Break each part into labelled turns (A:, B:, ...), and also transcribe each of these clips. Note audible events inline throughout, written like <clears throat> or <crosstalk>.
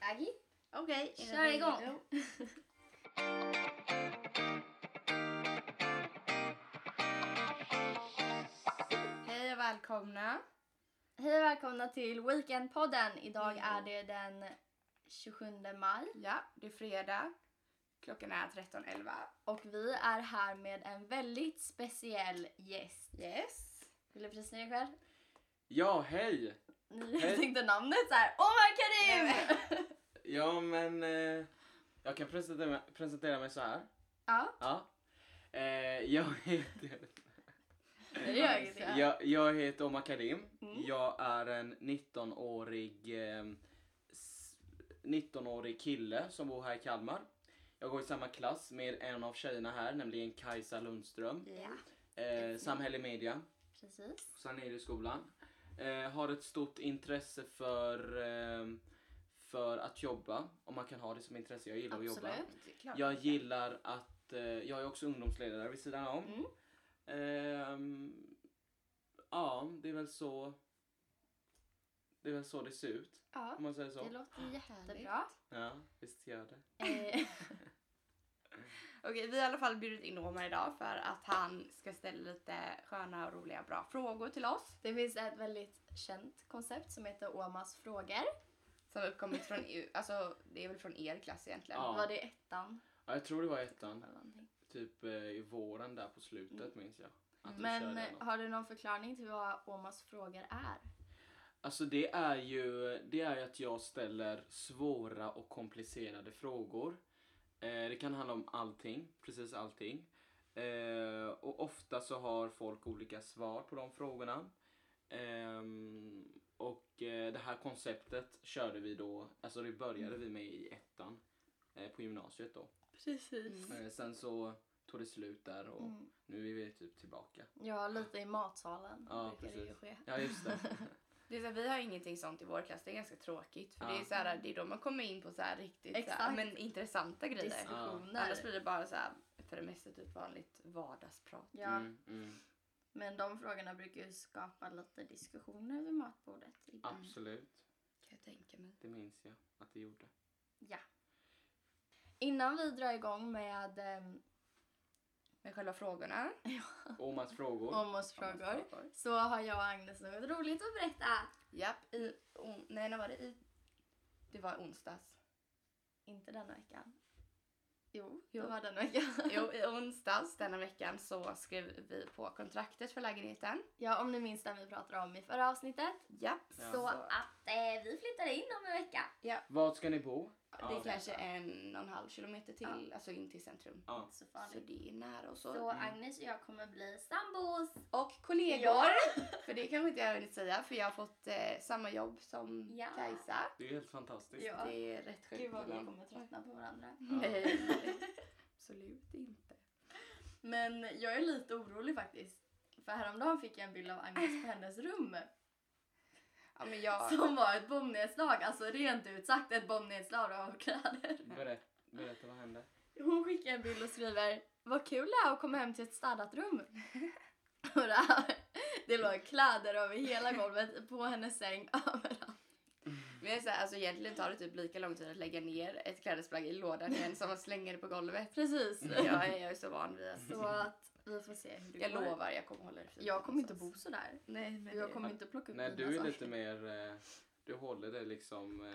A: Aggie,
B: Okej, är det
A: kör
B: redo?
A: <laughs> igång!
B: Hej och välkomna.
A: Hej och välkomna till Weekendpodden. Idag
B: Mm.
A: är det den 27 maj
B: Ja, det är fredag. Klockan är 13.11.
A: och vi är här med en väldigt speciell gäst.
B: Yes.
A: Vill du presentera dig själv?
C: Ja, hej!
A: Ni <laughs>
C: Hej.
A: tänkte namnet så här. Oh my Karim!
C: Ja, men eh, jag kan presentera mig, presentera mig så här.
A: <laughs> ja,
C: Ja. Eh, jag, heter,
A: det gör inget.
C: jag, jag heter Omar Karim.
A: Mm.
C: Jag är en 19-årig eh, s- 19-årig kille som bor här i Kalmar. Jag går i samma klass med en av tjejerna här, nämligen Kajsa Lundström.
A: Ja,
C: Eh, samhälle media.
A: precis.
C: Sen är det i skolan. Eh, har ett stort intresse för, ehm, för att jobba. Om man kan ha det som intresse. Jag gillar att jobba.
A: Absolut.
B: Klart.
C: Jag gillar att... Eh, jag är också ungdomsledare vid sidan om.
A: Mm.
C: Ehm, ja, det är väl så... Det är väl så det ser ut.
A: Ja,
C: Om man säger
A: det
C: så.
A: låter jättebra.
C: Ja, visst gör det.
A: Eh, <laughs>
B: Okej, vi har i alla fall bjudit in Omar idag för att han ska ställa lite sköna och roliga bra frågor till oss.
A: Det finns ett väldigt känt koncept som heter Omas frågor.
B: Som har uppkommit från, er- alltså det är väl från er klass egentligen.
C: Ja.
A: Var det ettan?
C: Ja, jag tror det var i ettan.
A: Eller någonting?
C: Typ eh, i våren där på slutet minns jag. Att vi
A: Mm. Men
C: körde
A: eh,
C: något.
A: har du någon förklaring till vad Omas frågor är?
C: Alltså det är ju det är ju att jag ställer svåra och komplicerade frågor. Eh, det kan handla om allting, precis allting. Eh, och ofta så har folk olika svar på de frågorna. Ehm, och eh, det här konceptet körde vi då, alltså det började vi med i ettan eh, på gymnasiet då.
A: Precis.
C: Eh, sen så tog det slut där och
A: Mm.
C: nu är vi typ tillbaka.
A: Ja, lite i matsalen
C: Ja,
A: brukar det ju
C: precis.
A: ske.
C: Ja just det.
B: Det är så här, vi har ingenting sånt i vår klass, det är ganska tråkigt. För det, är
C: Ja.
B: så här, det är då man kommer in på så här riktigt så här,
A: Exakt.
B: men, intressanta grejer.
A: Diskussioner.
C: alltså,
B: Annars blir det bara så här, för det mesta typ vanligt vardagsprat.
A: <laughs> Ja,
C: Mm, mm.
A: men de frågorna brukar ju skapa lite diskussioner vid matbordet. ibland.
C: Absolut,
B: Kan jag tänka mig.
C: det minns jag att det gjorde.
A: Ja. Innan vi drar igång med ehm,
B: Men själva frågorna.
C: Omans frågor.
A: Omas frågor så har jag och Agnes något roligt att berätta.
B: Japp, i, on, nej när var det i? Det var i onsdags.
A: Inte denna veckan. Jo,
B: Jo.
A: det var denna veckan. <laughs>
B: Jo, i onsdags denna veckan så skrev vi på kontraktet för lägenheten.
A: Ja, om ni minns den vi pratade om i förra avsnittet.
B: Japp.
C: Ja.
A: Så att eh, vi flyttar in om en vecka.
C: Vart ska ni bo?
B: Det är kanske en och en halv kilometer till, alltså in till centrum.
C: Ja. mm.
A: Så
B: Så
A: farligt.
B: det är nära och så.
A: Så Agnes och jag kommer bli sambos.
B: Och kollegor.
A: Ja.
B: För det kanske inte jag hunnit säga för jag har fått eh, samma jobb som
A: Ja.
B: Kajsa.
C: Det är helt fantastiskt.
A: Ja.
B: Det är rätt sjukt.
A: Gud vad vi
B: ibland.
A: kommer tröttna på varandra.
B: Nej, absolut inte.
A: Men jag är lite orolig faktiskt. För häromdagen fick jag en bild av Agnes på hennes rum.
B: Ja, men jag,
A: <laughs> Som var ett bombnedslag. Alltså rent ut sagt ett bombnedslag av kläder.
C: Berätt, berätta vad hände.
A: Hon skickar en bild och skriver Vad kul det är att komma hem till ett städat rum. Och det, här, det låg kläder över hela golvet, på hennes säng, överallt.
B: men jag är så här, alltså, egentligen tar det typ lika lång tid att lägga ner ett klädesplagg i lådan igen som att slänga det på golvet.
A: Precis.
B: Jag är, jag är så van vid att...
A: Så att vi får se hur det
B: Jag
A: går.
B: lovar, jag kommer hålla det fint.
A: Jag kommer inte
B: någonstans.
A: bo sådär.
B: Nej, men
A: Jag
B: det-
A: kommer inte plocka upp
C: Nej,
A: dina
C: du är
A: saker.
C: lite mer... eh, Du håller det liksom... eh,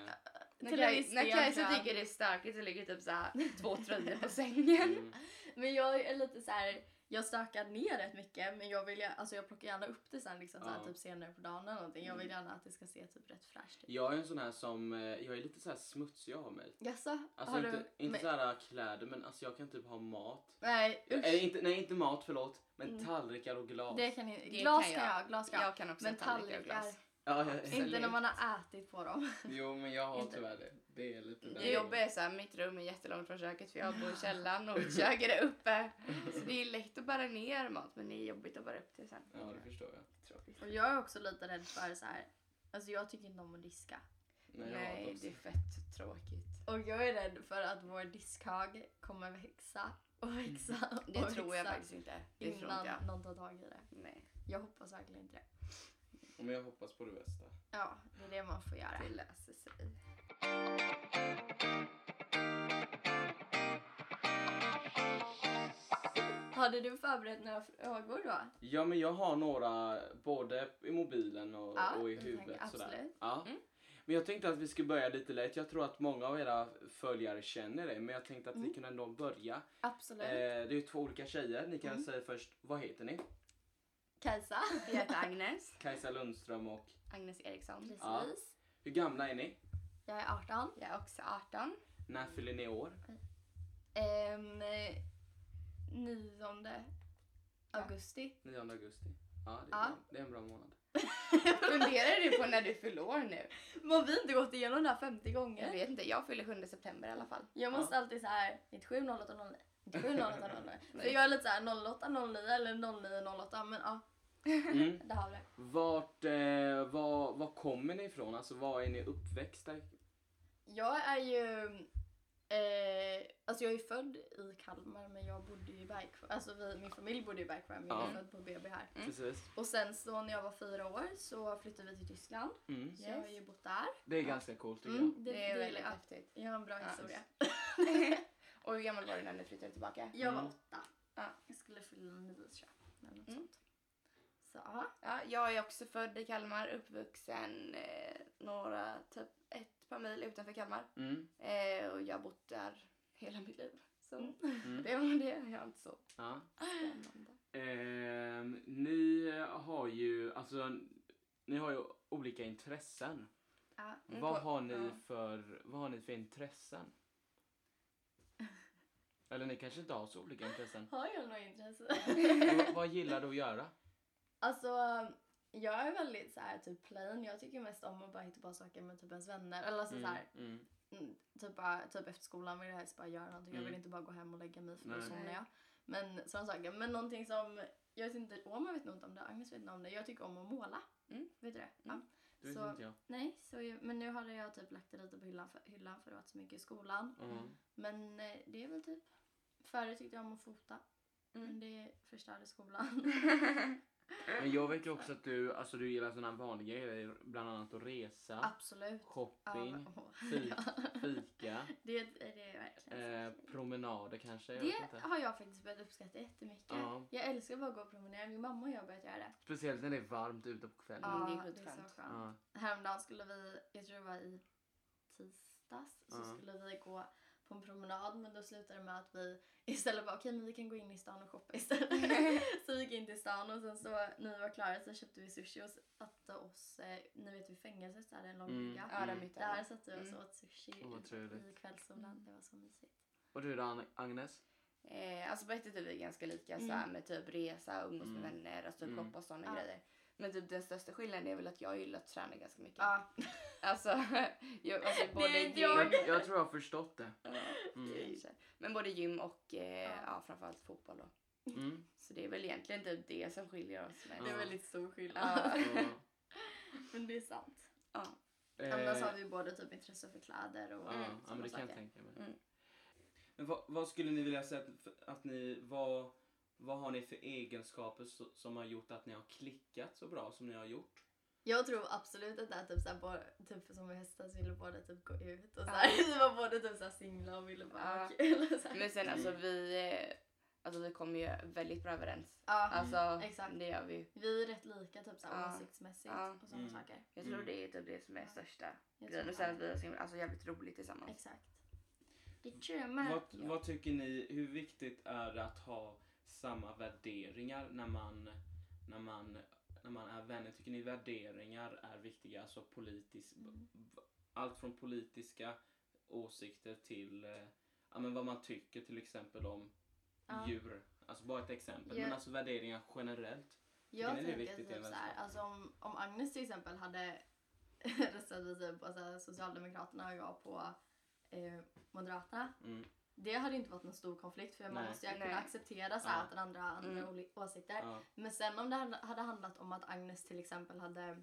B: När
A: Till en viss
B: Kaj- När
A: del,
B: Kajsa
A: tror jag.
B: tycker det är starkt så ligger typ
A: <laughs>
B: såhär två tröjor på sängen.
C: Mm.
A: Men jag är lite så här. jag stökar ner rätt mycket men jag vill gärna, alltså jag plockar gärna upp det sen liksom så här,
C: Ja. Mm.
A: typ senare på dagen eller någonting. Jag vill gärna att det ska se typ rätt fräscht ut.
C: Jag är en sån här som... eh, Jag är lite så här smutsig av mig.
A: Jaså?
C: Alltså
A: har
C: inte,
A: du?
C: inte
A: men-
C: så här kläder men alltså jag kan typ ha mat.
A: Nej usch. Mm.
C: Eller inte, nej inte mat förlåt men tallrikar och glas.
A: Det kan inte.
B: Det
A: Glas
B: kan
A: kan
B: jag.
A: jag, glas kan jag.
B: Jag kan också
A: Men
B: ha tallrikar och
A: tallrikar,
B: glas.
C: Ja, jag-
A: inte när man har ätit på dem.
C: <laughs> Jo men jag har
A: Inte.
C: tyvärr det. Det är lite
B: Det jobbiga är såhär, mitt rum är jättelångt från köket för jag bor i källaren
C: <laughs>
B: och mitt kök är där uppe. Så det är lätt att bära ner mat men det är jobbigt att bära upp det sen.
C: Ja det förstår jag.
B: Tråkigt.
A: Och jag är också lite rädd för så här. alltså jag tycker inte om att diska.
C: Nej, jag hatar
B: Nej,
C: också.
B: det är fett tråkigt.
A: Och jag är rädd för att vår diskhög kommer växa och
C: Mm.
A: växa och
B: Det
A: växa
B: tror jag faktiskt inte. Det tror inte
A: innan
B: jag.
A: någon tar tag i det.
B: Nej,
A: Jag hoppas verkligen inte det.
C: Men jag hoppas på det bästa.
A: Ja, det är det man får göra.
B: det löser sig.
A: Hade du förberett några frågor då?
C: Ja, men jag har några både i mobilen och,
A: Ja,
C: och i
A: jag
C: huvudet.
A: tänker
C: sådär.
A: absolut.
C: Ja.
B: Mm.
C: Men jag tänkte att vi skulle börja lite lätt. Jag tror att många av era följare känner det, men jag tänkte att vi
A: Mm.
C: kunde ändå börja.
A: Absolut.
C: Eh, det är ju två olika tjejer. Ni kan
B: Mm.
C: säga först, vad heter ni?
A: Kajsa.
B: Jag heter Agnes.
C: Kajsa Lundström och
B: Agnes Eriksson.
A: Precis.
C: Ja. hur gamla är ni?
A: Jag är 18.
B: Jag är också 18.
C: När fyller ni år?
A: Ehm, eh, 9 augusti.
C: 9 augusti. Ja, det är,
A: Ja.
C: Bra. Det är en bra månad.
B: Funderar du på när du fyller år nu?
A: Men har vi inte gått igenom det här 50
B: Jag
A: gånger?
B: vet inte, jag fyller 7 september i alla fall.
A: Jag måste alltid så här 97 08 09. 97 08 09. <laughs> För jag är lite så här 08 09 eller 09 08 men ja,
C: Mm.
A: det har vi.
C: Vart, eh, var, var kommer ni ifrån? Alltså, var är ni uppväxta?
A: Mm. Jag är ju... Eh, alltså jag är född i Kalmar men jag bodde ju i Bergsjö. Alltså vi, min familj bodde i Bergsjö men jag
C: Ja.
A: är född på BB här.
B: Mm.
C: Precis.
A: Och sen så när jag var fyra år så flyttade vi till Tyskland.
C: Mm.
A: Så jag har
B: Yes.
A: ju bott där.
C: Det är ganska coolt tycker
A: Mm, det,
B: Det är
A: det
B: väldigt
A: gillar jag.
B: häftigt. <laughs>
A: Jag har en bra
B: Ja.
A: historia.
B: Och hur gammal var du när du flyttade tillbaka?
A: Jag var
C: Mm.
A: åtta.
B: Ja.
A: Jag skulle fylla nio tror jag. Eller något
B: Mm.
A: sånt. Så ja.
B: Ja, jag är också född i Kalmar, uppvuxen eh, några, typ ett par mil utanför Kalmar.
C: jag. Mm.
B: Eh, och jag har bott där hela mitt liv. Så
A: Mm.
C: Mm.
B: det var det. Jag har inte
A: <laughs>
B: så
C: Ja.
B: spännande.
C: Ehm, ni har ju, alltså, ni har ju olika intressen.
A: ja.
B: Mm,
C: vad,
B: på-
C: har ni
B: ja.
C: för, vad har ni för intressen? Eller ni kanske inte har så
A: <laughs>
C: olika intressen.
A: Har jag något intresse?
C: Men vad, vad gillar du att göra?
A: <laughs> alltså jag är väldigt så här typ plain. Jag tycker mest om att bara hitta på saker med typ ens vänner. Eller alltså så här,
C: mm.
A: mm, typ, bara, typ efter skolan vill jag helst bara göra någonting. Jag
C: Mm.
A: vill inte bara gå hem och lägga mig för
C: Nej.
A: då somnar
B: Nej.
A: jag. Men sådana saker. Men någonting som, jag vet inte, Oma vet nog inte om det, Agnes vet nog om det. Jag tycker om att måla.
B: Mm.
A: Vet du det?
B: Mm.
C: Det vet
A: Så-
C: inte jag.
A: Nej, så, ju- men nu hade jag typ lagt det lite på hyllan för, hyllan för det har varit så mycket i skolan.
C: Mm.
A: Men eh, det är väl typ... Förut tyckte jag om att fota, men
B: Mm.
A: det förstörde skolan.
C: Men jag vet ju också att du, alltså, du gillar sådana vanliga grejer, bland annat att resa,
A: <laughs> Absolut. Ja,
C: shopping,
A: men- åh,
C: fik,
A: <laughs> ja.
C: fika,
A: Det är det är verkligen.
C: eh,
A: så.
C: promenader kanske. Jag vet
A: det
C: inte.
A: har jag faktiskt börjat uppskatta jättemycket.
C: Ja.
A: Jag älskar bara att gå och promenera. Min mamma och jag har börjat göra det.
C: Speciellt när det är varmt ute på kvällen.
B: Ja, det är
A: det är så
B: skitskönt.
A: skönt.
C: Ja.
A: Häromdagen skulle vi, jag tror det var i tisdags, så
C: Ja.
A: skulle vi gå på en promenad men då slutade det med att vi <laughs> istället bara okej men vi kan gå in i stan och shoppa
C: <laughs>
A: istället. så vi gick in till stan och sen så när vi var klara så köpte vi sushi och satte oss, eh, ni vet vid fängelset där det är en lång
C: Mm.
A: brygga.
B: Ja,
C: Mm.
B: där mitt
A: Där
B: där.
A: satte vi oss och åt sushi
C: Åh, vad trevligt.
A: i, i kvällssolen,
B: Mm.
A: det var så mysigt.
C: Och du då Ag- Agnes?
B: Eh, alltså på ett sätt är vi ganska lika
A: Mm.
B: så här, med typ resa, umgås med
C: Mm.
B: vänner, alltså typ
C: Mm.
B: shoppa och sådana
A: Ja.
B: grejer. Men typ den största skillnaden är väl att jag gillar att träna ganska mycket.
A: Ja,
B: Alltså, <laughs> jag, alltså både
A: är
B: gym,
A: jag.
B: Ja,
C: Jag tror jag har förstått det. Mm.
B: kanske. Men både gym och eh,
A: Ja.
B: ja. framförallt fotboll då. <laughs>
C: Mm.
B: Så det är väl egentligen typ det som skiljer oss. Men...
A: det är
C: Ja.
A: väldigt stor skillnad.
B: Ja.
A: men det är sant.
B: Ja.
A: Annars
C: Eh,
A: har vi både typ intresse för kläder och
C: Ja,
B: Mm,
C: ja men
A: sådana
C: det kan jag
A: saker.
C: tänka mig.
B: Mm.
C: Men vad, vad skulle ni vilja säga att, att ni, vad, vad har ni för egenskaper så, som har gjort att ni har klickat så bra som ni har gjort?
A: Jag tror absolut att det är typ såhär, bo- typ som i höstas ville båda typ gå ut och
B: Ja.
A: såhär, <laughs> vi var båda typ såhär singlar och ville bara ha
B: Ja.
A: kul. och såhär.
B: Men sen alltså
C: Mm.
B: vi, eh, alltså, vi kommer ju väldigt bra överens.
A: Ja,
B: Alltså
A: exakt.
B: det gör vi ju.
A: vi är rätt lika typ såhär
B: Ja.
A: åsiktsmässigt
B: Ja.
A: och sådana
C: Mm.
A: saker.
B: Jag tror
C: Mm.
B: det är typ det som är
A: Ja.
B: största
A: Jag
B: grejen.
A: tror
B: Och sen
A: det.
B: att vi har så himla- alltså, jävligt roligt tillsammans.
A: Exakt. Det tror jag med.
C: Vad,
B: ja.
C: vad tycker ni, hur viktigt är det att ha samma värderingar när man, när man, när man är vänner? Tycker ni värderingar är viktiga? Alltså politisk,
A: Mm.
C: v- allt från politiska åsikter till eh, ja, men vad man tycker till exempel om
A: Ja.
C: djur. Alltså bara ett exempel.
A: Ja.
C: Men alltså värderingar generellt.
A: Jag
C: Tycker ni det
A: tänker
C: är viktigt i en
A: typ såhär,
C: vänskap?
A: alltså om, om Agnes till exempel hade <laughs> röstat vi typ på såhär, Socialdemokraterna och jag på eh, Moderaterna.
C: Mm.
A: Det hade inte varit någon stor konflikt för man
C: Nej.
A: måste ju kunna
B: Nej.
A: acceptera såhär,
C: Ja.
A: att den andra har andra
B: Mm.
A: oli- åsikter.
C: Ja.
A: Men sen om det hade handlat om att Agnes till exempel hade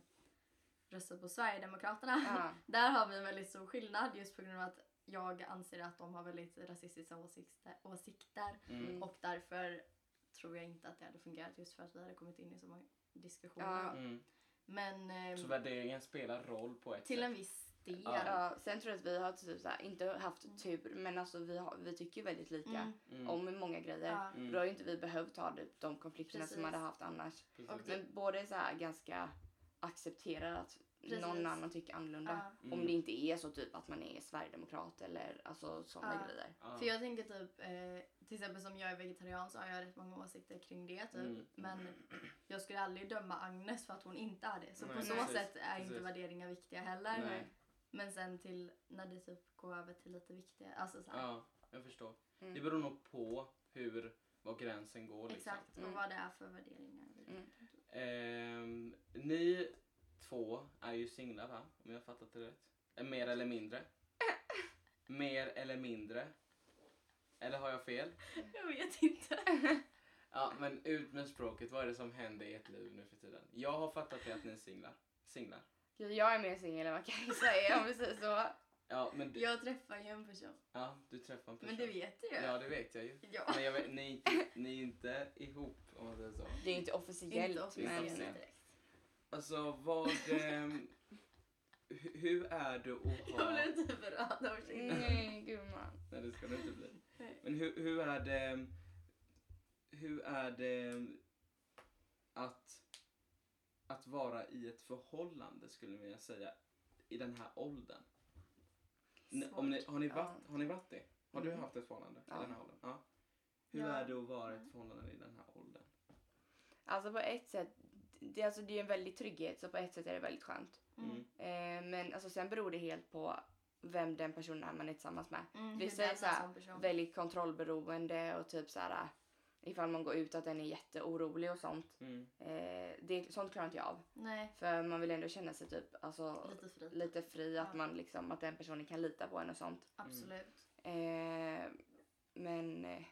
A: röstat på Sverigedemokraterna. <laughs>
B: Ja.
A: Där har vi en väldigt stor skillnad just på grund av att jag anser att de har väldigt rasistiska åsikter, åsikter
C: Mm.
B: Mm.
A: och därför tror jag inte att det hade fungerat just för att vi hade kommit in i så många diskussioner.
B: Ja.
A: då.
C: Mm.
A: Men ehm,
C: Så värderingar spelar roll på ett
A: till en
C: sätt.
A: viss det.
B: Ja, sen tror jag att vi har typ så här, inte haft tur, men alltså vi, har, vi tycker ju väldigt lika
A: Mm.
C: Mm.
B: om många grejer.
A: Ja.
C: Mm.
B: Då har ju inte vi behövt ha det, de konflikterna som
A: Precis.
B: hade haft annars.
C: Precis.
A: och
B: Men båda är så här ganska accepterar att
A: Precis.
B: någon annan tycker annorlunda.
A: Ja.
C: Mm.
B: Om det inte är så typ att man är sverigedemokrat eller alltså sådana
A: Ja.
B: grejer.
C: Ja.
A: För jag tänker typ, eh, till exempel som jag är vegetarian så har jag rätt många åsikter kring det typ.
C: Mm.
A: Men jag skulle aldrig döma Agnes för att hon inte är det. Så
C: Nej,
A: på så
B: precis,
A: sätt är inte
C: precis.
A: värderingar viktiga heller.
C: Nej.
A: Men sen till när det typ går över till lite viktiga, alltså så här,
C: Ja, jag förstår.
B: Mm.
C: Det beror nog på hur, var gränsen går. Liksom.
A: exakt, och
B: Mm.
A: vad det är för värderingar.
B: Mm.
C: Ehm, ni två är ju singlar va? Om jag har fattat det rätt. Eh, Mer eller
A: <laughs>
C: mindre. Mer eller mindre. Eller har jag fel?
A: Jag vet inte.
C: Ja, men ut med språket. Vad är det som händer i ert liv nu för tiden? Jag har fattat det att ni är singlar. Singlar.
B: Gud, jag är mer singel än vad Kajsa är om vi säger så.
C: Ja, men du,
A: Jag träffar ju en person.
C: ja, du träffar en person.
A: Men det vet du ju.
C: Ja, det vet jag ju.
A: Ja.
C: Men jag vet, ni, är inte, ni är inte ihop om man säger så.
B: Det är ju inte officiellt. liksom. men...
A: inte officiellt
C: officiellt.
A: direkt.
C: Alltså vad... ehm, hu- hur är det att ha...
A: Jag blev typ berörd av sin.
B: Nej, gumman.
C: <laughs> Nej det ska det inte bli.
A: Nej.
C: Men hur, hur är det... Hur är det att, att vara i ett förhållande skulle jag vilja säga i den här åldern? N- Om ni, har, ni
B: Ja.
C: varit, har ni varit det? Har du
B: Mm.
C: haft ett förhållande
B: Ja.
C: i den här åldern? Ja. Hur
A: Ja.
C: är det att vara i ett förhållande i den här åldern?
B: Alltså på ett sätt, det, alltså, det är ju en väldigt trygghet så på ett sätt är det väldigt skönt.
A: Mm.
B: Eh, men alltså, sen beror det helt på vem den personen är man är tillsammans med.
A: Mm,
B: Vi
A: hur
B: säger
A: den
B: så här,
A: är som person.
B: Väldigt kontrollberoende och typ så här ifall man går ut att den är jätteorolig och sånt.
C: Mm.
B: Eh, det, sånt klarar inte jag av.
A: Nej,
B: För man vill ändå känna sig typ alltså,
A: lite fri.
B: lite fri, att,
A: Ja.
B: man liksom, att den personen kan lita på en och sånt. Mm.
A: Absolut.
B: Eh, men eh,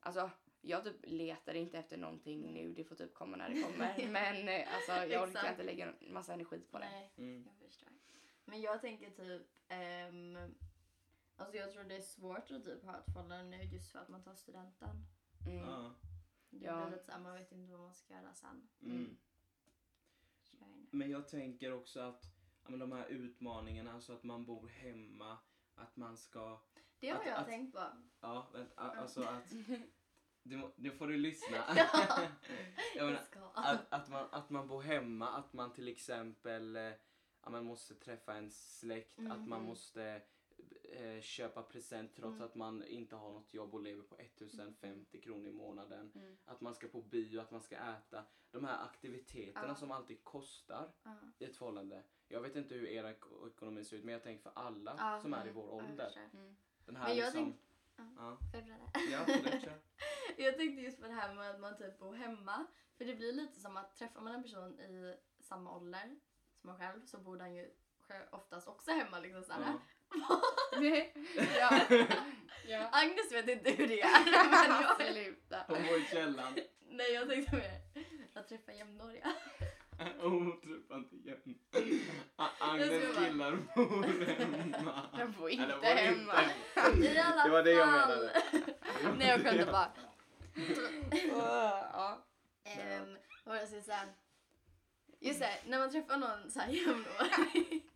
B: alltså jag typ letar inte efter någonting nu, det får typ komma när det <laughs> kommer. men eh, alltså jag orkar
A: Exakt.
B: inte lägga en massa energi på det.
A: Nej.
C: Mm.
A: Jag förstår. Men jag tänker typ... ehm, alltså jag tror det är svårt att typ ha ett förhållande nu just för att man tar studenten.
B: Mm.
C: Ja.
A: Det
B: Ja.
A: blir lite såhär, man vet inte vad man ska göra sen.
C: Mm.
A: Så jag är nöjd.
C: Men jag tänker också att ja, men de här utmaningarna, alltså att man bor hemma, att man ska...
A: Det har
C: Att-
A: jag
C: att-
A: tänkt på.
C: Ja, vänta, a-
A: Ja. <laughs>
C: alltså att... Du, må- nu får du lyssna.
A: Ja.
C: jag menar,
A: <laughs> Jag ska.
C: <laughs> att, att, man, att man bor hemma, att man till exempel eh, ja, man måste träffa en släkt, att man
B: Mhm.
C: måste eh, köpa present trots
A: Mm-hmm. Mm.
C: att man inte har något jobb och lever på 1050 kronor i månaden.
B: Mm.
C: Att man ska på bio, att man ska äta. De här aktiviteterna
A: Ja.
C: som alltid kostar
A: Ja.
C: i ett förhållande. Jag vet inte hur er ek- ekonomi ser ut men jag tänker för alla
A: Ja,
C: som är i
A: mm,
C: vår
A: jag
C: ålder.
A: förstår.
B: Mm.
C: Den här
A: Men jag
C: liksom...
A: tänk- ja.
C: Ja,
A: Får jag berätta?
C: ja fortsätt, kör.
A: <laughs> Jag tänkte just på det här med att man typ bor hemma. För det blir lite som att träffar man en person i samma ålder som man själv så bor den ju själv- oftast också hemma liksom såhär.
C: Ja.
B: <laughs> ja. <laughs> ja.
A: Agnes vet inte hur det
C: <laughs>
A: är. Men jag,
B: Absolut.
C: Hon bor i källaren.
A: <laughs> nej, jag tänkte mer att träffa jämnåriga.
C: Hon träffar inte igen. A-
A: Jag
C: Agnes
A: ska bara- <laughs>
C: killar bor hemma.
B: Jag bor
C: Eller
B: inte
C: bor
B: hemma.
A: <laughs> I alla
C: Det var det jag
A: fall.
C: menade.
A: nej, jag skämtar
C: <laughs>
A: bara.
B: Åh, <laughs> ja.
A: Ehm, vad jag skulle säga. Just det, när man träffar någon så här jämnårig,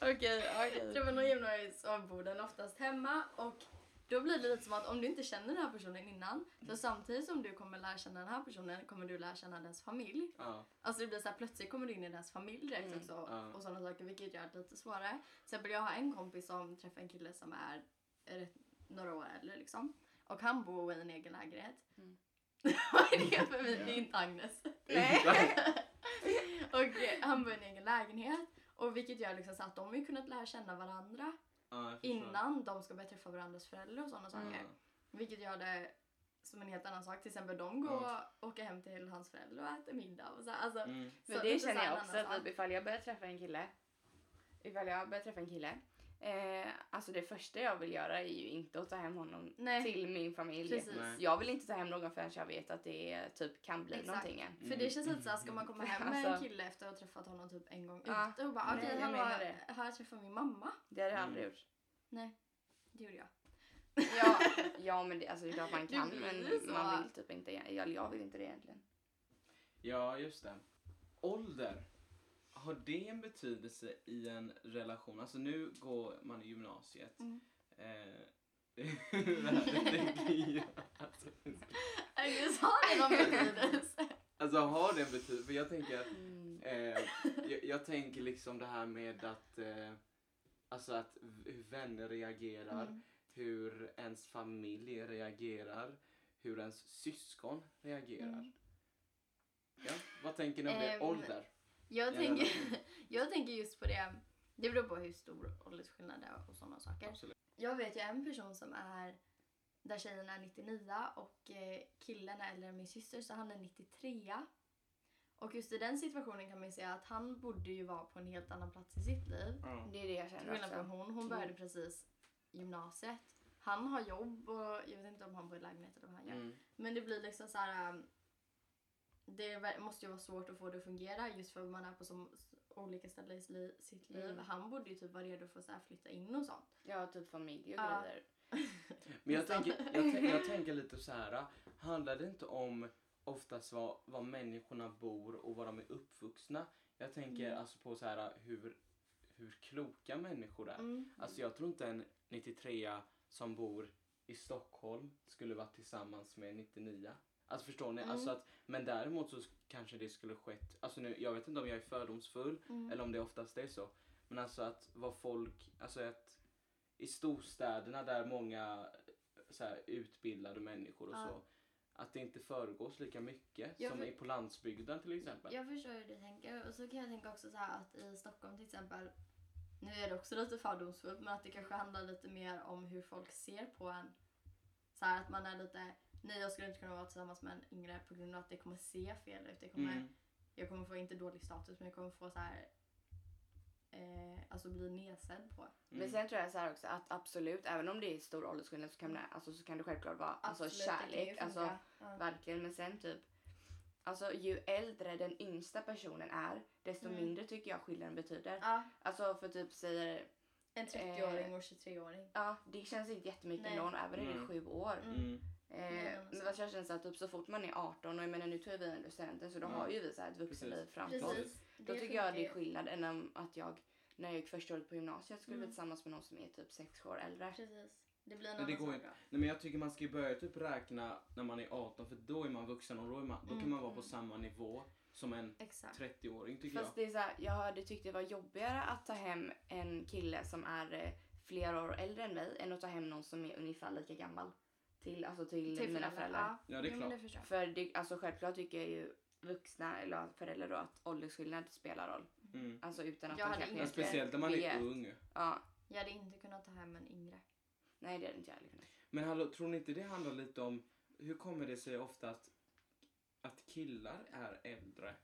B: Okej, okej.
A: <laughs> träffar någon jämnårig så bor den oftast hemma och då blir det lite som att om du inte känner den här personen innan så samtidigt som du kommer lära känna den här personen kommer du lära känna dens familj.
C: Ja,
A: Alltså det blir så här, plötsligt kommer du in i deras familj direkt
B: Mm,
A: också
C: ja.
A: och sådana saker vilket gör det lite svårare. Till exempel jag har en kompis som träffar en kille som är rätt, några år äldre liksom och han bor i en egen lägenhet.
B: Mm.
A: <laughs> Vad är det för mig? Det är inte Agnes.
C: <laughs>
B: Nej.
A: och eh, han bor i en egen lägenhet och vilket gör liksom så att de har ju kunnat lära känna varandra
C: ja, jag förstår.
A: <laughs> innan de ska börja träffa varandras föräldrar och sådana
C: Ja.
A: saker.
B: Mm.
A: Vilket gör det som en helt annan sak. Till exempel de går
C: Mm.
A: och åker hem till hans föräldrar och äter middag och så. här. Alltså,
C: Mm.
B: Men
A: Så
B: det
A: lite så
B: känner
A: här
B: jag
A: en
B: också
A: annan
B: att
A: sak.
B: typ, ifall jag börjar träffa en kille, ifall jag börjar träffa en kille, eh, alltså det första jag vill göra är ju inte att ta hem honom
A: Nej.
B: till min familj.
A: Precis.
C: Nej.
B: Jag vill inte ta hem någon förrän jag vet att det eh, typ kan bli
A: Exakt.
B: någonting än.
C: mm,
A: För det känns lite såhär, ska man komma hem med en
B: Alltså.
A: kille efter att ha träffat honom typ en gång
B: Ja.
A: ute och bara
C: Nej,
A: okej,
C: jag
A: hallå,
B: menar det.
A: har jag träffat min mamma?
B: Det hade jag
C: Mm.
B: aldrig gjort.
A: Nej, det gjorde jag. <laughs>
B: Ja, ja men det, alltså, det är klart man
A: Det
B: kan
A: blir
B: men
A: så.
B: man vill typ inte, jag, jag vill inte det egentligen.
C: Ja, just det. Ålder. har det en betydelse i en relation? Alltså nu går man i gymnasiet.
B: Mm.
C: Eh, <laughs> det här tänker
A: <laughs>
C: jag. Alltså,
A: Du sa det någon
C: <laughs>
A: betydelse.
C: Alltså har det en betydelse? För jag tänker att
B: Mm.
C: Eh, jag, jag tänker liksom det här med att, eh, alltså att v- hur vänner reagerar,
A: Mm.
C: hur ens familj reagerar, hur ens syskon reagerar.
A: Mm.
C: Ja, vad tänker ni om det?
A: Ehm,
C: Ålder?
A: Jag
C: Ja,
A: tänker,
C: verkligen.
A: jag tänker just på det. Det beror på hur stor åldersskillnad det är och sådana saker.
C: Absolut.
A: Jag vet ju en person som är där tjejen är 99 och eh, killen är äldre än min syster så han är 93. Och just i den situationen kan man ju säga att han borde ju vara på en helt annan plats i sitt liv.
C: Ja.
B: Det är det jag
A: Till
B: känner
A: skillnad
B: också.
A: från hon. Hon började precis gymnasiet. Han har jobb och jag vet inte om han bor i lägenhet eller vad han gör.
C: Mm.
A: Men det blir liksom så här. um, Det ver- måste ju vara svårt att få det att fungera just för att man är på så s- olika ställen i s- li- sitt liv.
B: Mm.
A: Han borde ju typ vara redo för att så här flytta in och sånt.
B: Ja, typ familj och
A: Ja.
B: grejer.
C: Men jag
A: Nästan.
C: tänker, jag, tän-
A: <laughs>
C: jag tänker lite så här, handlar det inte om oftast var, var människorna bor och var de är uppvuxna? Jag tänker
A: Mm.
C: alltså på så här hur, hur kloka människor är.
A: Mm.
C: Alltså jag tror inte en 93 som bor i Stockholm skulle vara tillsammans med en 99 Alltså förstår ni?
A: Mm.
C: Alltså att, men däremot så kanske det skulle skett, alltså nu, jag vet inte om jag är fördomsfull
A: Mm.
C: eller om det oftast är så. Men alltså att vad folk, alltså att i storstäderna där många eh, så här, utbildade människor och
A: Ja.
C: så, att det inte föregås lika mycket
A: Ja,
C: som
A: för-
C: är på landsbygden till exempel.
A: Jag förstår hur du tänker. Och så kan jag tänka också så här att i Stockholm till exempel, nu är det också lite fördomsfullt, men att det kanske handlar lite mer om hur folk ser på en. Så här att man är lite, nej jag skulle inte kunna vara tillsammans med en yngre på grund av att det kommer se fel ut. Det kommer,
C: Mm.
A: Jag kommer få, inte dålig status, men jag kommer få så här, eh, alltså bli nedsedd på.
C: Mm.
B: Men sen tror jag så här också att absolut, även om det är stor åldersskillnad så kan det, alltså, så kan det självklart vara alltså,
A: Absolut, det kan ju
B: kärlek.
A: funka.
B: Alltså,
A: Ja.
B: verkligen. Men sen typ, alltså ju äldre den yngsta personen är desto
A: Mm.
B: mindre tycker jag skillnaden betyder.
A: Ja,
B: Alltså för typ säger, Eh,
A: en 30-åring och 23-åring.
B: ja det känns inte jättemycket
A: Nej.
B: ändå även om det är
C: Mm.
B: sju år.
A: Mm.
C: Mm.
A: Nej,
B: Eh,
A: men
B: men vad jag känner så att typ, så fort man är 18 och jag menar nu tar ju vi ändå studenten så då
C: Mm.
B: har ju vi så här ett vuxenliv framför oss.
A: Precis.
B: Då
A: det
B: tycker jag det är
A: funkar ju.
B: skillnad än om att jag när jag gick första året på gymnasiet skulle bli
A: Mm.
B: tillsammans med någon som är typ sex år äldre.
A: Precis. Det blir en
C: Men det
A: annan
C: går
A: sak
C: inte.
A: då.
C: Nej, men jag tycker man ska ju börja typ räkna när man är 18 för då är man vuxen och då, är man, då
A: Mm,
C: kan man vara på
A: mm.
C: samma nivå som en
A: Exakt.
C: 30-åring tycker
B: Fast det är så här, jag hade tyckt det var jobbigare att ta hem en kille som är eh, flera år äldre än mig än att ta hem någon som är ungefär lika gammal till, alltså till, mina föräldrar.
C: jag. Ja det är
A: Jo, men
C: klart.
A: förstår jag.
B: För det, alltså självklart tycker jag ju vuxna eller föräldrar då att åldersskillnad spelar roll.
C: Mm.
B: Alltså utan att
A: Jag
B: de
A: hade
B: kanske
A: inte-
C: Ja,
B: egentligen
C: speciellt när man är
B: vet.
C: ung.
B: Ja,
A: Jag hade inte kunnat ta hem en yngre.
B: nej det hade inte jag heller kunnat.
C: Men hallå, tror ni inte det handlar lite om hur kommer det sig ofta att, att killar är äldre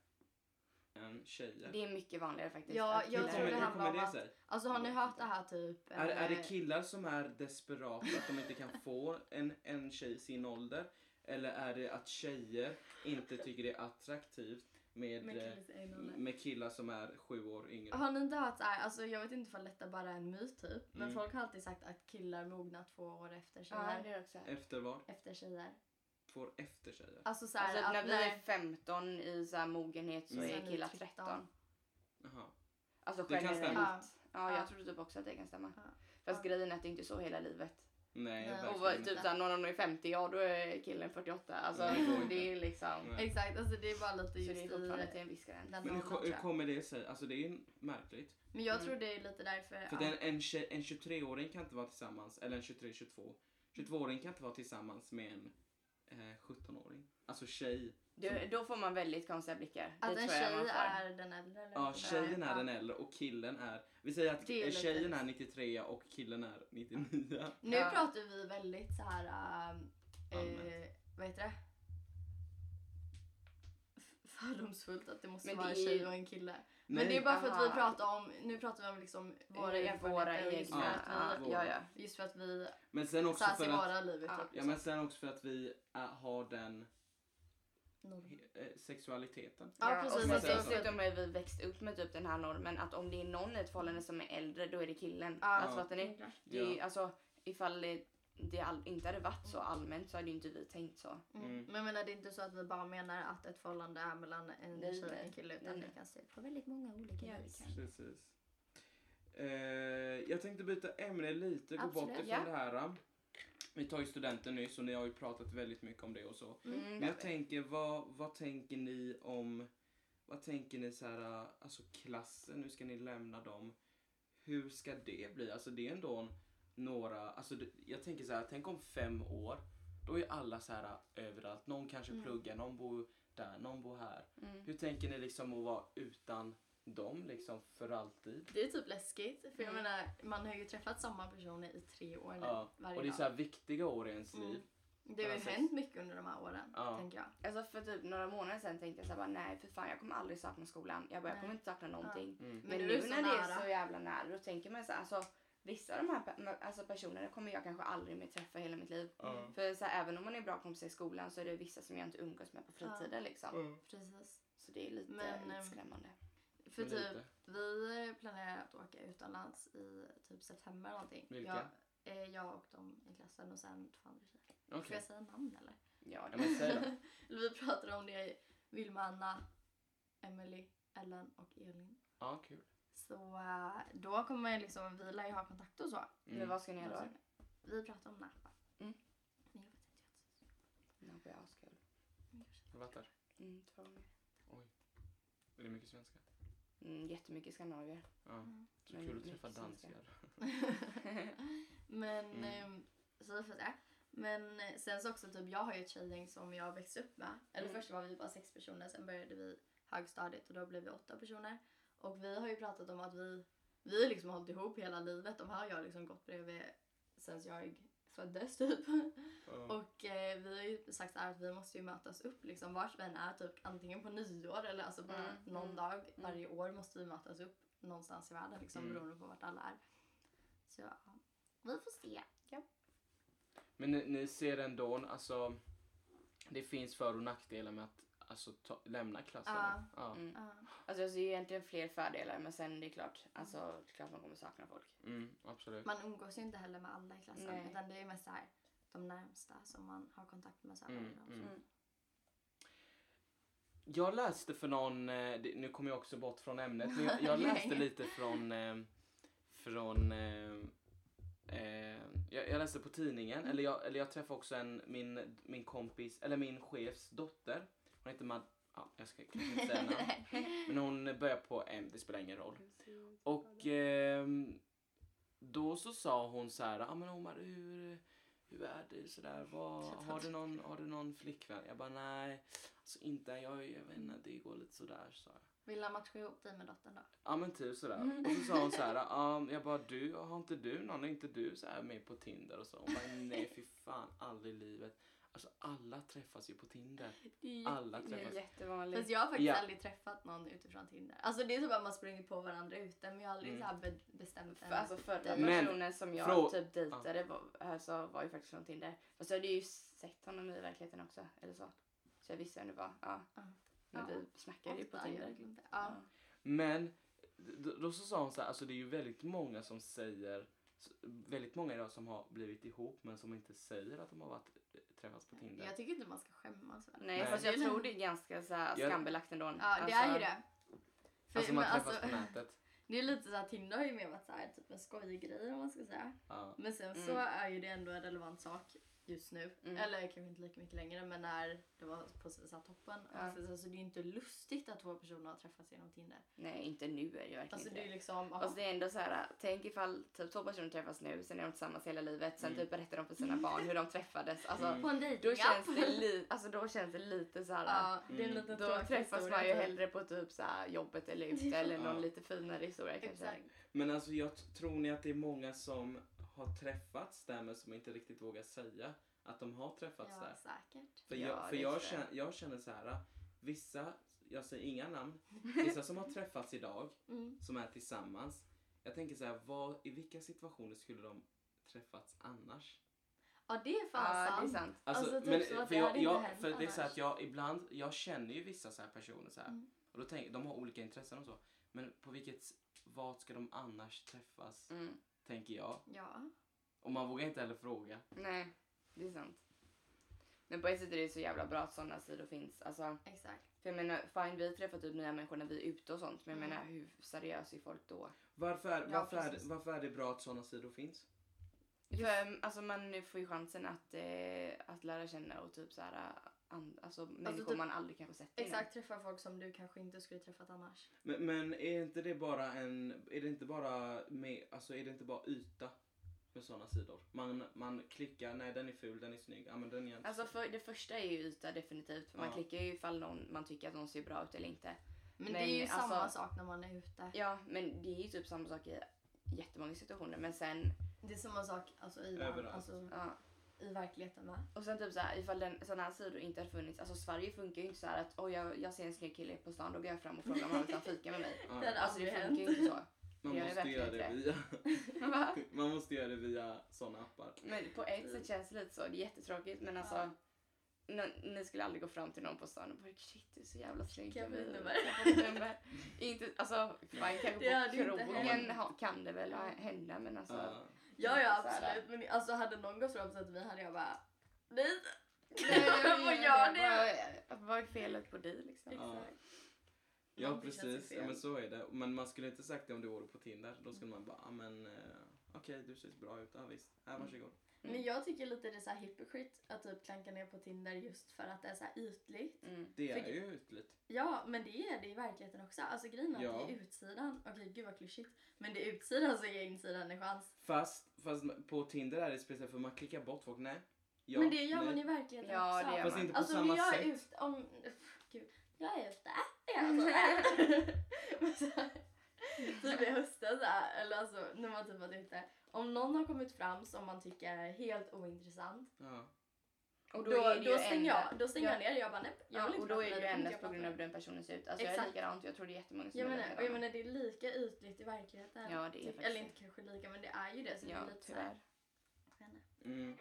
C: än tjejer?
B: Det är mycket vanligare faktiskt.
A: Ja,
B: att
A: jag
C: hur
B: killar-
A: tror
C: kommer,
A: det
C: hur
A: handlar
C: kommer
A: om
C: det
A: att-
C: sig?
A: Alltså har ni hört det här typ?
C: Är, är det
A: eh,
C: killar som är desperata att de inte kan få en, en tjej i sin ålder? Eller är det att tjejer inte tycker det är attraktivt med,
A: med
C: eh,
A: killis- eller?
C: med killar som är sju år yngre.
A: Har ni inte hört såhär, alltså jag vet inte ifall detta bara är en myt typ, men
C: Mm.
A: folk har alltid sagt att killar mognar två år efter
B: Ja,
A: tjejer.
B: det är också. här.
C: Efter vad?
A: efter tjejer.
C: Två år efter tjejer?
A: Alltså såhär
B: Alltså,
A: att
B: när vi är 15 i så här mogenhet så
C: Mm.
A: Sen är
B: är killar
A: det
B: 13.
A: 13.
C: Jaha.
B: Alltså
C: Det kan
B: generellt.
C: stämma.
B: Ja.
A: Ja.
B: jag tror typ också att det kan stämma.
A: Ja.
B: Fast
A: Ja.
B: grejen är att det inte är så hela livet.
C: Nej,
A: Nej.
C: verkligen
B: Och vad,
C: inte.
B: typ såhär, någon av dem är 50, ja då är killen 48. Alltså
C: Nej, det går
B: det är
C: inte.
B: liksom...
C: Nej.
A: Exakt, alltså det är bara lite
B: Så
A: just
B: det är
A: i
B: fortfarande typ- till en viss gräns.
A: den
C: Men hur,
A: åldern
C: ko-
A: tror
C: hur
A: jag.
C: kommer det sig? Alltså det är ju märkligt.
A: Men jag
B: Mm.
A: tror det är lite därför.
C: För
A: ja.
C: den, en, tje- en 23-åring kan inte vara tillsammans, eller en 23-22. 22-åring kan inte vara tillsammans med en eh, 17-åring. Alltså tjej.
B: Du, då får man väldigt konstiga blickar.
A: Att
B: det
A: en
B: tror jag man
A: tjej
B: får.
A: är den äldre eller
C: Ja,
A: den
C: tjejen
A: äldre.
C: är den äldre och killen är... Vi säger att
A: Det är
C: eh, tjejen
A: lite-
C: är 93 och killen är 99. <laughs>
A: Nu
B: Ja.
A: pratar vi väldigt så här. ehm, eh,
C: Allmänt.
A: vad heter det? F- Fördomsfullt att det måste
B: Men
A: vara
B: det
A: en
B: är ju-
A: tjej och en kille. Men det är bara för att vi
B: aha.
A: pratar om, nu pratar vi om liksom våra
B: Eh, våra
A: erfarenheter. just,
B: egna.
A: för
B: Ja,
A: att vi,
B: ja, ja.
A: just för att vi
C: Men sen också
A: så här
C: för
A: ser
C: att...
A: vara livet
B: Ja.
A: typ.
C: Ja, men sen också för att vi eh, har den
A: Norm.
C: eh, sexualiteten.
A: Ja,
B: Ja,
A: precis.
B: Och
C: alltså,
B: sen
C: så-
B: dessutom har vi växt upp med typ den här normen att om det är någon i ett förhållande som är äldre då är det killen.
A: Ja.
B: Alltså fattar ni?
A: Ja.
B: Det är, Alltså ifall det, det all, inte hade varit så allmänt så hade ju inte vi tänkt så.
A: Mm.
C: Mm.
A: Men jag menar det är inte så att vi bara menar att ett förhållande är mellan en
B: Nej,
A: tjej och
B: nej.
A: en kille utan
B: Nej,
A: det
B: nej.
A: kan se ut på väldigt många olika
B: Ja, det
A: vis.
B: kan.
C: Precis. Eh, jag tänkte byta ämne lite, gå
A: Absolut.
C: bort ifrån
B: Ja.
C: det här. Vi tar ju studenten nyss och ni har ju pratat väldigt mycket om det och så.
A: Mm.
B: Mm,
C: Men jag
B: det-
C: tänker, vad, vad tänker ni om, vad tänker ni så här, alltså klassen, hur ska ni lämna dem? Hur ska det bli? Alltså det är ändå några, alltså det, jag tänker så här, tänk om fem år, då är alla så här överallt. Någon kanske
A: Mm.
C: pluggar, någon bor där, någon bor här.
B: mm.
C: Hur tänker ni liksom att vara utan dem liksom för alltid?
A: Det är typ läskigt för jag
B: Mm.
A: menar man har ju träffat samma personer i tre år nu
C: Ja,
A: varje
C: Och det är
A: dag.
C: så här viktiga år i ens
A: Mm.
C: liv.
A: det har ju
C: Precis.
A: hänt mycket under de här åren
C: Ja.
A: tänker jag.
B: Alltså för typ några månader sedan tänkte jag så här, bara, nej för fan jag kommer aldrig sakna skolan. Jag, bara, jag
A: Nej.
B: kommer inte sakna någonting.
C: Mm.
A: Men
B: Men,
A: nu är
B: nu
A: det så
B: när det
A: nära.
B: är så jävla nära då tänker man så här, alltså vissa av de här pe- alltså, personerna kommer jag kanske aldrig mer träffa i hela mitt liv.
C: Ja.
B: För så här, även om man är bra kompisar i skolan så är det vissa som jag inte umgås med på fritiden liksom.
C: Mm.
A: Precis.
B: Så det är lite,
A: Men,
B: lite
A: ehm,
B: skrämmande.
A: För
C: Men
A: typ
C: lite.
A: vi planerar att åka utomlands i typ september eller någonting.
C: Vilka?
A: Jag, eh, jag och de i klassen och sen två andra tjejer. Får
C: Okej.
A: jag säga namn eller?
B: Ja,
C: Ja,
A: Mm.
B: det,
C: men säg
A: <laughs>
C: då.
A: Vi pratade om det, Vilma, Anna, Emily, Ellen och Elin.
C: Ja, kul.
A: Så eh, då kommer man ju liksom, vi lär ju ha kontakt och så.
B: men
C: Mm.
B: vad ska ni göra då?
A: Vi pratar om Napa.
B: Mm.
A: Men jag vet inte,
B: Nej, jag har askul.
A: jag tror inte.
C: Har du varit där?
B: Mm, två gånger.
C: Är det mycket svenska?
B: Mm, jättemycket skandinavier.
C: Ja.
A: Mm.
C: Så
B: Men
C: kul att
B: mycket
C: träffa
B: svenska.
C: danskar.
A: Men,
C: Mm.
A: ehm, så vi får se. Men eh, sen så också typ, jag har ju ett tjejgäng som jag växte upp med. Eller
B: Mm.
A: först var vi bara sex personer, sen började vi högstadiet och då blev vi åtta personer. Och vi har ju pratat om att vi, vi har liksom hållit ihop hela livet. De här har jag liksom gått bredvid sen jag föddes typ.
C: Ja.
A: Och eh, vi har ju sagt så här att vi måste ju mötas upp liksom vars vi än är typ antingen på nyår eller alltså bara
B: Mm,
A: någon
B: mm,
A: dag varje år måste vi mötas upp någonstans i världen liksom
C: Mm.
A: beroende på vart alla är. Så ja, vi får se.
C: Men ni, ni ser ändå, alltså det finns för och nackdelar med att alltså, ta, lämna klassen.
A: Ja.
C: Ja.
B: Mm.
A: Ja.
B: Alltså jag ser ju egentligen fler fördelar men sen det är klart, alltså det är klart man kommer sakna folk.
C: Mm,
A: Eh,
C: absolut.
A: Man umgås ju inte heller med alla i klassen
B: Nej.
A: utan det är ju mest så här de närmsta som man har kontakt med. Så här,
C: Mm,
A: och så.
C: mm.
B: Mm.
C: Jag läste för någon, eh, det- nu kommer jag också bort från ämnet, men jag, jag
A: <laughs>
C: läste
A: Nej.
C: lite från, eh, från eh, eh, jag, jag läste på
A: Mm.
C: tidningen, eller jag, eller jag träffade också en, min, min kompis, eller min chefs dotter. Hon heter Mad... Ja, jag ska kanske inte säga namn. Men hon börjar på M, det spelar ingen roll. Och ehm, då så sa hon så här, ah, men Omar hur, hur är det sådär, vad, har, du någon, har du någon flickvän? Jag bara nej, alltså inte, jag, jag vet inte, det går lite sådär sa jag.
A: Vill han matcha ihop dig med dottern då?
C: Ja men typ sådär. Och så sa hon såhär, um, jag bara du, har inte du någon, är inte du så här med på Tinder och så? Hon bara nej fy fan, aldrig i livet. Alltså alla träffas ju på Tinder. Alla
B: Det är
C: träffas.
B: jättevanligt.
A: Fast jag har faktiskt
C: Ja.
A: aldrig träffat någon utifrån Tinder. Alltså det är typ att man springer på varandra ute men jag har aldrig
C: Mm.
A: så här be- bestämt
B: För, alltså förra
C: Men-
B: personen som jag
C: Frå-
B: typ dejtade var, alltså, var ju faktiskt från Tinder. Fast jag hade ju sett honom i verkligheten också. Eller så. Så jag visste vem det var. Ja.
A: Ja.
B: Men
A: Ja.
B: vi snackade ju på
A: Ofta,
B: Tinder.
A: jag glömde. Ja.
C: Men då, då så sa hon så här, alltså det är ju väldigt många som säger, s- väldigt många idag som har blivit ihop men som inte säger att de har varit, eh, träffats på Tinder.
A: Jag tycker inte man ska skämmas för det.
B: Nej,
C: Nej.
B: fast jag tror det är ganska så här,
C: Jag-
B: skambelagt ändå. Alltså,
A: Ja, det är ju det. För,
C: alltså man
A: men,
C: träffas
A: alltså,
C: på nätet.
A: <laughs> det är lite så här, Tinder har ju mer varit så här, typ en skojgrej om man ska säga.
C: Ja.
A: Men sen så
B: Mm.
A: är ju det ändå en relevant sak just nu.
B: Mm.
A: Eller kanske inte lika mycket längre men när det var på så här, toppen.
B: Ja.
A: Alltså, så, så det är ju inte lustigt att två personer har träffats genom Tinder.
B: Nej, inte nu är det ju verkligen
A: Alltså
B: inte
A: det är ju liksom... ja.
B: Alltså det är ändå så här, tänk ifall typ två personer träffas nu, sen är de tillsammans hela livet, sen
C: Mm.
B: typ berättar de för sina barn hur de träffades. Alltså,
C: Mm.
A: på en
B: då,
A: dejtingapp.
B: känns det li- alltså då känns det lite så här.
A: Ja, det är en
C: Mm.
A: liten
B: Då
A: tråkig
B: träffas
A: historia,
B: man ju
A: typ.
B: hellre på typ så här jobbet
A: <laughs>
B: eller ute
A: Ja.
B: eller någon
C: Ja.
B: lite finare historia kanske.
A: Exakt.
C: Men alltså jag t- tror ni att det är många som har träffats där men som inte riktigt vågar säga att de har träffats
A: Ja,
C: där.
A: säkert.
C: För,
B: Ja,
C: jag, för
B: det
C: jag,
B: tror jag.
C: känner, jag känner så här, vissa, jag säger inga namn, vissa som har träffats idag
A: Mm.
C: som är tillsammans. Jag tänker så här, vad, i vilka situationer skulle de träffats annars?
A: Ja, det är fan
B: Ja, det är
A: sant.
B: sant.
A: Alltså, typ så att det
C: för jag,
A: hade inte
C: jag,
A: hänt
C: för det är så
A: annars.
C: att jag ibland, jag känner ju vissa så här personer så här.
A: Mm.
C: Och då tänker, de har olika intressen och så. Men på vilket, vad ska de annars träffas?
B: Mm.
C: Tänker jag.
A: Ja.
C: Och man vågar inte heller fråga.
B: Nej, det är sant. Men på ett sätt är det så jävla bra att sådana sidor finns. Alltså,
A: Exakt.
B: för jag menar, fine vi träffar typ nya människor när vi är ute och sånt. Men jag
A: Mm.
B: menar hur seriös är folk då?
C: Varför är,
A: Ja,
C: varför, är,
A: precis.
C: varför är det bra att sådana sidor finns?
B: För, alltså, man får ju chansen att, eh, att lära känna och typ såhär, an, alltså, människor
A: typ-
B: man aldrig kanske sett innan.
A: Exakt, träffa folk som du kanske inte skulle träffat annars.
C: Men, men är inte det bara en... Är det inte bara, med, alltså, är det inte bara yta med sådana sidor? Man, man klickar, nej den är ful, den är snygg, ja men den är inte
B: Alltså
C: så-
B: för, det första är ju yta definitivt. För man
C: Ja.
B: klickar ju ifall någon, man tycker att någon ser bra ut eller inte.
A: Men, det
B: Men
A: är ju
B: alltså-
A: samma sak när man är ute.
B: Ja, men det är ju typ samma sak i jättemånga situationer. Men sen,
A: Det är samma sak alltså, i,
C: Överallt.
A: alltså,
B: ja.
A: i verkligheten med.
B: Och sen typ såhär, ifall den, sådana här sidor inte hade funnits. Alltså Sverige funkar ju inte såhär att oj jag, jag ser en snygg kille på stan, då går jag fram och frågar om han vill ta fika
A: <laughs>
B: med mig.
C: Ja,
A: Det hade
B: Alltså det
A: aldrig
B: funkar ju
A: hänt. <laughs>
B: inte så. det
C: man,
B: gör
C: måste
B: jag
C: göra det
B: verkligen
C: via,
B: Va?
C: <laughs> man måste göra det via sådana appar.
B: Men på ett sätt känns det lite så, det är jättetråkigt men alltså.
A: Ja.
B: n- Ni skulle aldrig gå fram till någon på stan och bara shit du är så jävla snygg.
A: Kan jag få ditt nummer?
B: Kan jag få ditt nummer? <laughs> Inte, alltså, fan, kanske
A: Det hade ju
B: på
A: inte
B: krogen
A: hänt.
B: ha- kan det väl ha- hända men alltså.
C: Ja.
A: Ja, ja
B: Så här.
A: absolut. Men alltså, hade någon gått fram så att vi hade jag bara... Nej.
B: Nej, <laughs>
A: Vad gör
B: Vad, vad är felet på dig liksom?
C: Ja.
A: Exakt.
C: Ja
A: Man blir
C: precis,
A: klassificerad.
C: ja, men så är det. Men man skulle inte sagt det om du vore på Tinder. Då skulle man bara, ah, men eh, okej du ser bra ut, ja visst, här varsågod.
B: Mm.
A: Men jag tycker lite det är så här hypocrite att typ klanka ner på Tinder just för att det är så här ytligt.
B: Mm.
C: Det är
A: Fick-
C: ju ytligt.
A: Ja, men det är det i verkligheten också. Alltså grejen är att
C: Ja.
A: det är utsidan. Okej, gud vad klyschigt. Men det är utsidan som ger insidan en chans.
C: Fast, fast på Tinder är det speciellt för man klickar bort folk, nej. Ja,
A: men det gör
C: nej.
A: man i verkligheten
B: Ja,
A: också.
B: det gör
C: Fast
B: man.
C: inte på
A: Alltså om
C: samma
A: jag
C: sätt.
A: är ute, om, pff, gud, jag är ute, alltså. är jag <laughs> så här? Men så här, Typ i höstas så här, eller alltså när man typ varit ute. Om någon har kommit fram som man tycker är helt ointressant,
C: Ja.
B: Och
A: då,
B: då, är det
A: då,
B: ju
A: stänger,
B: endast-
A: jag, då stänger
B: Ja.
A: jag ner. Jag bara nej, jag vill
B: Ja,
A: inte
B: och då
A: prata
B: är
A: med
B: det ju
A: dig, jag vill
B: endast
A: inte
B: på grund
A: prata
B: av hur den personen ser ut. Alltså jag är
A: Exakt.
B: likadant, jag tror det är jättemånga som
A: Jag
B: är
A: menar, och jag
B: likadana.
A: menar det är lika ytligt i verkligheten.
B: Ja, det är
A: typ,
B: faktiskt
A: eller
B: det.
A: inte kanske lika men det är ju det. Så
B: Ja,
A: det är lite så här,
B: tyvärr.
A: jag vet inte.
C: Mm.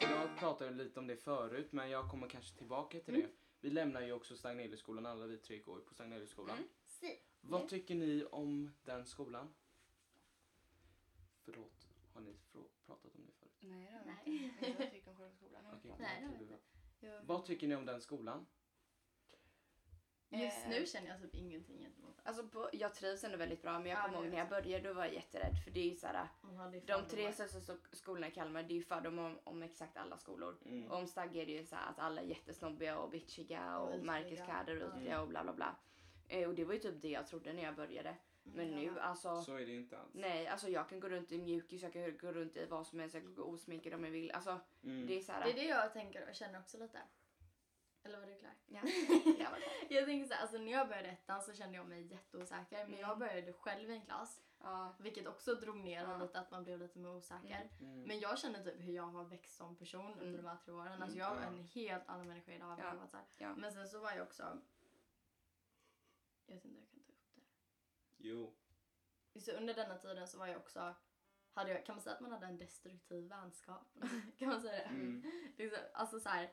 C: Jag pratade lite om det förut men jag kommer kanske tillbaka till
A: Mm.
C: det. Vi lämnar ju också Stagneliusskolan, alla vi tre går ju på Stagneliusskolan.
B: Mm.
A: Si.
C: Vad tycker ni om den skolan? Förlåt, har ni frå- pratat om det förut?
B: Nej, det har
A: Nej.
B: vi inte. Jag tycker om självskolan. Jag
C: Okej.
B: pratar
A: Nej, det
B: om
A: har vi
B: det.
A: inte. Jag-
C: Vad tycker ni om den skolan?
A: Just
B: Eh.
A: nu känner jag typ ingenting gentemot den.
B: Alltså på, jag trivs ändå väldigt bra men jag
A: Ja,
B: kommer
A: det
B: ihåg
A: är
B: när jag
A: också.
B: började då var jag jätterädd för det är ju såhär,
A: Hon hade ju
B: de tre
A: fördomar.
B: största so- skolorna i Kalmar det är ju fördomar om, om exakt alla skolor.
C: Mm.
B: Och om Stagge är det ju såhär att alla är jättesnobbiga och bitchiga
A: Och
B: och,
A: ytliga.
B: märkeskläder och
A: Ja.
B: ytliga och bla bla bla. Eh, och det var ju typ det jag trodde när jag började. Men
A: Mm,
B: nu
A: ja.
B: alltså,
C: Så är det ju inte alls.
B: nej alltså jag kan gå runt i mjukis, jag kan gå runt i vad som helst, jag kan gå osminkad om jag vill. Alltså
C: Mm.
B: det är såhär,
A: Det är det jag tänker och känner också lite. Eller var du klar? <laughs>
B: ja. det var det.
A: Jag tänker så här, alltså när jag började ettan så kände jag mig jätteosäker. Men jag började själv i en klass.
B: Ja.
A: Vilket också drog ner
B: Ja.
A: lite, att man blev lite mer osäker.
B: Mm.
C: Mm.
A: Men jag känner typ hur jag har växt som person under
B: Mm.
A: de här tre åren. Alltså jag är
C: ja.
A: en helt annan människa idag. än vad
B: Ja,
A: jag var så här.
B: ja.
A: Men sen så var jag också... Jag vet inte, jag kan ta upp det.
C: Jo.
A: Så under denna tiden så var jag också... Hade jag, kan man säga att man hade en destruktiv vänskap? <laughs> kan man säga det?
C: Mm.
A: liksom, alltså så här,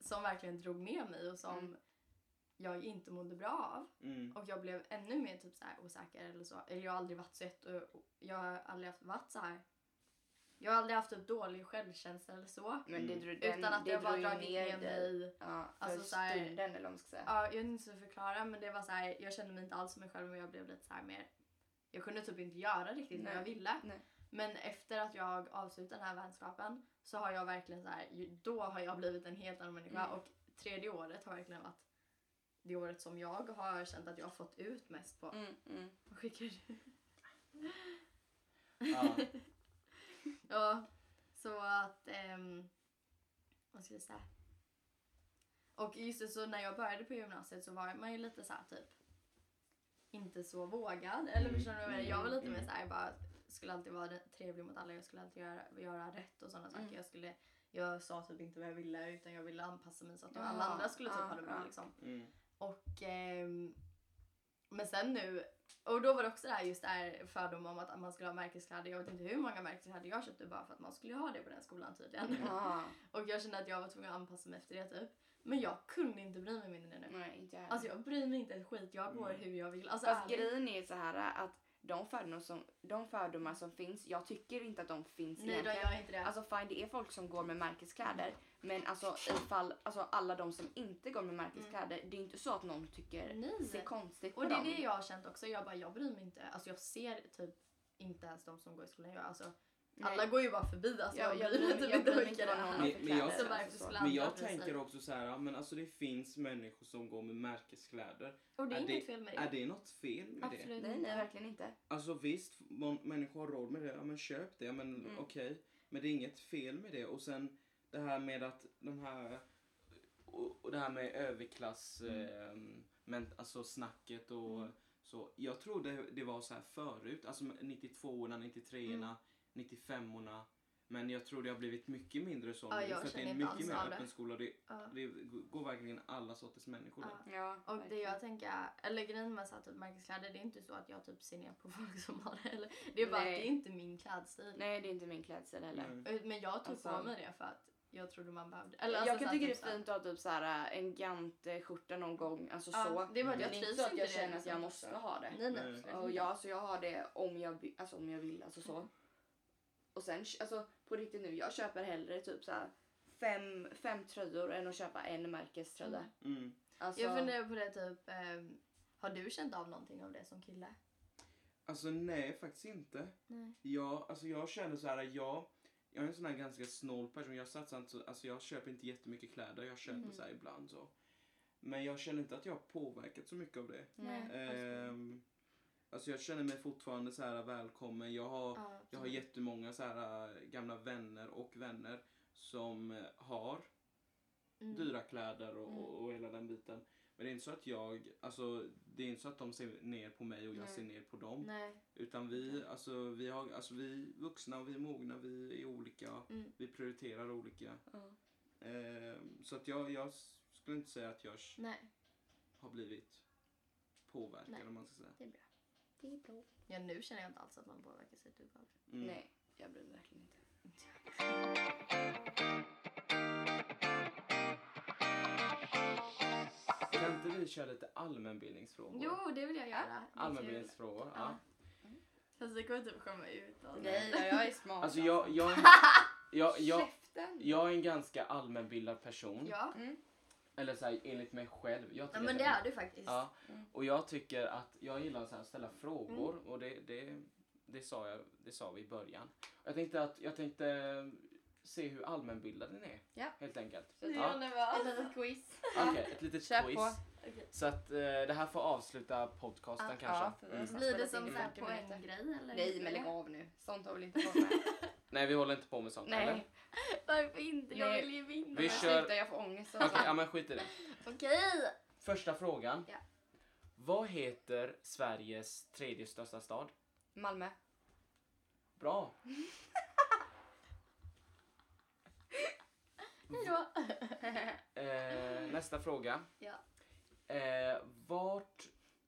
A: som verkligen drog ner mig och som
B: Mm.
A: jag inte mådde bra av. <laughs>
C: Mm.
A: Och jag blev ännu mer typ så här osäker eller så. Eller jag har aldrig varit så ett och och jag har aldrig haft, varit så här. Jag har aldrig haft typ dålig självkänsla eller så.
B: Men det
C: Mm.
B: drog, den,
A: utan att
B: det
A: jag bara
B: drog ju
A: dragit ner
B: dig.
A: mig.
B: Ja, för
A: Alltså, så här-
B: stunden eller vad man ska säga.
A: Ja, jag vet inte hur jag ska förklara men det var så här, jag kände mig inte alls som mig själv och jag blev lite så här mer jag kunde typ inte göra riktigt vad
B: Nej.
A: jag ville.
B: Nej.
A: Men efter att jag avslutade den här vänskapen så har jag verkligen så här, ju- då har jag blivit en helt annan människa
B: Mm.
A: och tredje året har verkligen varit det året som jag har känt att jag har fått ut mest på.
B: Mm, mm.
A: Vad skickar du?
C: Ja.
A: <laughs> Ja, så att ehm, vad ska jag säga? Och just det, så när jag började på gymnasiet så var man ju lite så här typ inte så vågad. Eller
C: Mm,
A: förstår du vad jag menar? Jag var lite
C: mm,
A: mer så här bara skulle alltid vara den- trevlig mot alla. Jag skulle alltid göra, göra rätt och sådana saker.
B: Mm.
A: Jag, skulle, jag sa typ inte vad jag ville utan jag ville anpassa mig så att
B: Ja,
A: alla andra skulle typ
B: ja,
A: ha det bra
B: ja.
A: liksom.
C: Mm.
A: Och ehm, men sen nu, och då var det också det här just det här fördom om att man skulle ha märkeskläder. Jag vet inte hur många märkeskläder jag köpte bara för att man skulle ha det på den skolan tydligen.
B: Ja,
A: <laughs> Och jag kände att jag var tvungen att anpassa mig efter det typ. Men jag kunde inte bry mig mindre nu.
B: nej inte jag heller.
A: Alltså jag bryr mig inte ett skit. Jag går
C: Mm.
A: hur jag vill. Alltså,
B: Fast
A: ärligt.
B: grejen är så här att de fördomar, som, de fördomar som finns, jag tycker inte att de finns
A: Nej då, jag är inte det.
B: Alltså fine, det är folk som går med märkeskläder. Men alltså ifall, alltså alla de som inte går med märkeskläder, det är inte så att någon tycker ser
A: Mm. Nej.
B: konstigt på
A: Och det är
B: dem.
A: det jag har känt också. Jag bara, jag bryr mig inte. Alltså jag ser typ inte ens de som går i skolan. Jag, alltså,
B: Nej.
A: alla går ju bara förbi. Alltså
B: Ja,
A: jag, bryr mig <laughs> typ
B: jag
A: inte
B: bryr mig
A: vilka det
B: vad någon har
A: är.
B: för
C: Men- men jag-
B: kläder,
A: Så
B: alltså,
A: varför
B: så.
A: skulle
C: Men
A: andra
C: jag
A: bry sig?
C: tänker också så här, men alltså det finns människor som går med märkeskläder.
A: Och det är
C: är det-
A: inget fel med
C: Är
A: det.
C: det något fel med det?
A: Absolut
B: Nej, nej
A: inte.
B: verkligen inte.
C: Alltså visst, må- människor har råd med det, ja men köp det, ja, men
B: Mm.
C: okej. Men det är inget fel med det. Och sen det här med att de här, och, och det här med överklass,
A: Mm.
C: eh, men, alltså snacket och så. Jag trodde det var så här förut, alltså 92orna, 93orna,
A: Mm.
C: 95orna. Men jag tror det har blivit mycket mindre så
A: Ja,
C: nu
A: jag
C: för att det
A: känner
C: är
A: inte
C: mycket
A: alls
C: mer
A: av det.
C: öppen skola. Det,
A: Ja.
C: det går verkligen alla sorters människor där.
A: Ja.
B: Ja,
A: Och det
B: verkligen.
A: jag tänker, eller grejen med så här typ märkeskläder, det är inte så att jag typ ser ner på <laughs> folk som har det heller. Det är bara
B: Nej.
A: att det är inte min klädstil. Eh,
B: Nej, det är inte min klädsel heller.
C: Mm.
A: Men jag tog
B: Alltså-
A: på mig det för att jag trodde man behövde. Eller
B: jag
A: alltså
B: kan
A: så här,
B: tycka det
A: typ så
B: är
A: här-
B: fint att ha typ såhär, en gantskjorta någon gång, alltså
A: Ja,
B: så.
A: det är bara att
B: Men
A: jag
B: det är
A: trivs
B: inte så att
A: inte i
B: jag
A: det,
B: känner att
A: liksom.
B: jag måste ha det.
A: Nej, nej.
C: Nej.
A: absolut
B: Och
A: inte.
B: jag, så alltså, jag har det om jag, vi- alltså, om jag vill. Alltså, så.
A: Mm.
B: Och sen, alltså, på riktigt nu, jag köper hellre typ så här fem, fem tröjor än att köpa en märkeströja.
A: Mm.
C: Mm.
B: Alltså,
A: Jag funderar på det typ, ehm, har du känt av någonting av det som kille?
C: Alltså nej, faktiskt inte.
A: Nej.
C: Jag, alltså jag känner så här, jag, jag är en sån här ganska snål person. Jag satsar inte så, alltså jag köper inte jättemycket kläder. Jag köper
B: Mm.
C: så här ibland så. Men jag känner inte att jag har påverkat så mycket av det.
B: nej.
C: Ehm, alltså jag känner mig fortfarande så här välkommen. Jag har,
A: Ja, typ.
C: jag har
A: absolut.
C: jättemånga så här äh, gamla vänner och vänner som eh, har
A: Mm.
C: dyra kläder och,
A: Mm.
C: och, och hela den biten. Men det är inte så att jag, alltså det är inte så att de ser ner på mig och jag
B: Nej.
C: ser ner på dem.
A: Nej.
C: Utan vi, alltså, vi, har, alltså, vi är vuxna och vi är mogna, vi är olika,
A: Mm.
C: vi prioriterar olika.
B: Ja.
C: Ehm, så att jag, jag skulle inte säga att jag s-
A: Nej.
C: har blivit påverkad
A: Nej.
C: om man ska säga.
B: Det är bra.
A: Ja, nu känner jag inte alls att man påverkas utav det.
C: Mm.
B: Nej, jag bryr mig verkligen inte.
C: Kan inte vi köra lite allmänbildningsfrågor?
A: Jo, det vill jag göra. Det är kul.
C: Allmänbildningsfrågor, ja.
A: Fast det kommer typ komma ut. av det.
B: Nej, jag är smart.
C: Alltså jag, jag,
A: <laughs>
C: är, jag, jag,
B: Käften!
C: jag är en ganska allmänbildad person.
A: Ja.
B: Mm.
C: Eller så här, enligt mig själv. Jag
A: ja,
C: tycker
A: men
C: att
A: det
C: jag-
A: är du faktiskt.
C: Ja,
B: Mm.
C: och jag tycker att jag gillar så här att ställa frågor och det, det, det, sa jag, det sa vi i början. Och Jag tänkte, att, jag tänkte se hur allmänbildad den är
B: Ja.
C: helt enkelt.
B: Så det
C: Ja.
A: nervös.
B: Ett litet quiz.
C: Okej, ett litet
B: Kör
C: quiz.
B: på.
A: Okej.
C: Så att eh, det här får avsluta podcasten
A: Ja,
C: kanske.
B: Ah, ja, för vi har
C: mm.
B: snart-
A: Blir det
B: Spelat
A: som
B: in
A: så här
B: 50 minuter.
A: poänggrej eller?
B: Nej, men lägg av nu. Sånt har väl inte varit med.
C: Nej, vi håller inte på med sånt
B: <laughs>
C: eller?
B: Nej,
A: Varför inte? Jag
B: Nej.
A: vill ju vinna.
C: Vi
B: men
C: kör-
B: sluta jag får ångest.
C: Okej,
B: Alltså.
C: ja, men skit i det.
A: Okej.
C: Första frågan.
A: Ja.
C: Vad heter Sveriges tredje största stad?
B: Malmö.
C: Bra!
A: Hejdå.
B: <laughs>
C: Eh, nästa fråga.
A: Ja.
C: Eh, vart,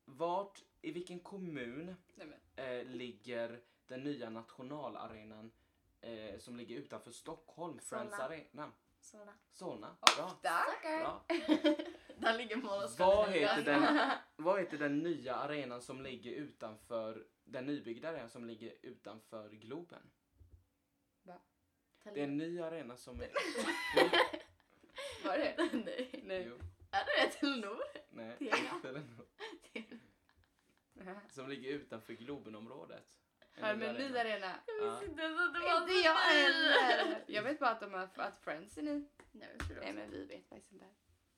C: vart, i vilken kommun
B: Nej, men.
C: eh, ligger den nya nationalarenan eh, som ligger utanför Stockholm? Friends
A: Solna.
C: Arena.
A: Såna.
C: Solna. Bra.
B: Och där!
C: Bra.
A: Där ligger mål och
C: Vad
A: skador.
B: <laughs>
C: heter den, vad heter den nya arenan som ligger utanför den nybyggda arenan som ligger utanför Globen? Det är en ny arena som
B: <laughs>
C: är...
B: Var det?
A: Nej.
B: Nej.
C: Jo,
A: Är det det? Telenor?
C: nej.
B: Tena.
C: inte den. <laughs> Som ligger utanför Globenområdet. En
B: Har
C: ny
B: med
C: arena.
B: ny arena?
A: Jag visste inte ens att det var
B: Inte jag heller! Jag vet bara att, de har, att Friends är ny.
A: Nej, jag tror
B: Nej
A: det.
B: men vi vet faktiskt inte.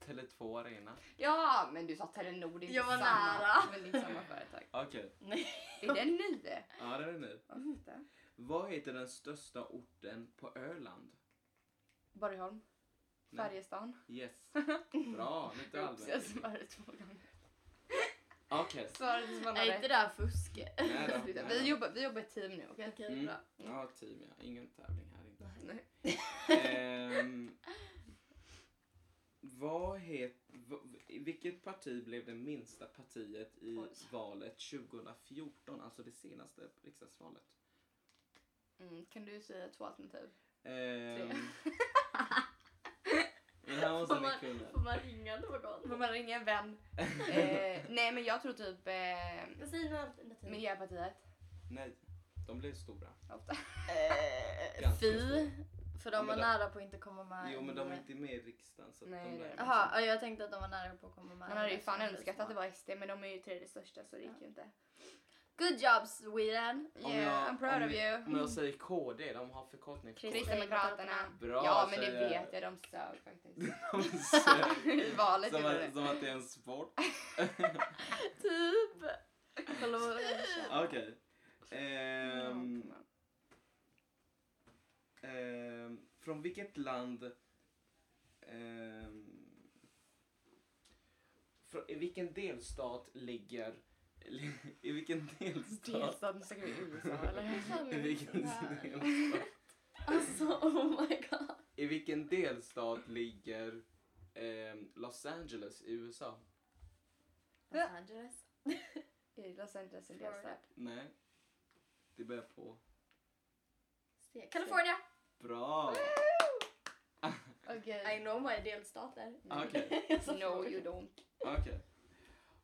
C: Tele2 Arena.
B: Ja men du sa Telenor, det är inte
A: Jag var
B: samma.
A: nära.
B: Men det är inte samma företag.
C: Okej,
A: Nej.
B: Är den ny?
C: ja det är nu. Vad heter den största orten på Öland?
B: Borgholm.
C: Nej.
B: Färjestaden. <laughs>
C: Yes. Bra, lite
B: Oops, jag
C: allmänt.
B: svarade två <laughs> gånger.
C: Okej.
B: Svarade som alla
A: Är inte
B: rätt.
A: det här fusk? Okej,
C: Nej då, nej
B: Sluta.
C: då.
B: Vi jobbar, vi jobbar i team nu. okej?
A: okej,
C: Mm.
A: bra.
C: Ja, team ja. Ingen tävling här inte.
B: <laughs> Nej.
C: Ehm, vad het, v, vilket parti blev det minsta partiet i
B: Oj.
C: valet 2014? Alltså det senaste riksdagsvalet.
B: <laughs> Mm, kan du säga två alternativ?
C: Ehm, Den här måste
A: Får
C: ni
A: man,
C: kunna.
A: får man ringa någon?
B: Får man ringa en vän? <laughs> eh, nej men jag tror typ eh,
A: Vad säger ni om alternativ?
B: Miljöpartiet.
C: Nej, de blir stora.
B: Ofta.
A: Eh,
C: Ganska
A: Fi. För
C: Ja,
A: de
C: men
A: var
C: de-
A: nära på att inte komma med.
C: Jo men de är inte med i riksdagen så att
B: Nej,
C: de
B: det är
C: där...
B: de
A: Jaha, ja, jag tänkte att de var nära på att komma med.
B: Man hade ju
A: Eftersom
B: fan
A: de är
B: önskat
A: små.
B: att det var SD men de är ju tredje största så det gick ju inte.
A: Good job Sweden!
C: liksom- Om
B: Yeah,
C: jag-
B: I'm proud
C: om
B: of you.
C: Om jag säger KD, de har förkortning för KD.
B: Kristdemokraterna.
C: Bra,
B: ja men det
C: säger-
B: vet jag, de sög
C: <laughs>
B: faktiskt.
C: De sög.
B: I valet
C: som,
B: gjorde det.
C: att, som att det är en sport.
A: Typ! Kolla
B: <laughs>
A: vad
C: Okej.
B: Ja,
C: Ehm,
B: come on.
C: ehm, från vilket land... Ehm, från, I vilken delstat ligger... <laughs> I vilken delstat...
B: Delstaten, snackar vi USA
C: <laughs>
B: eller?
C: I vilken delstat...
A: Alltså oh my god.
C: I vilken delstat ligger ehm, Los Angeles i USA?
A: Los Angeles.
B: I Los Angeles en
A: Florida.
B: delstat.
C: Nej. Det börjar på.
A: Se- California!
C: Bra!
B: <laughs> Okej.
A: I know my delstater.
C: Okej.
A: Jag
B: <laughs>
A: sa
B: No
A: Florida.
B: you don't.
C: Okej.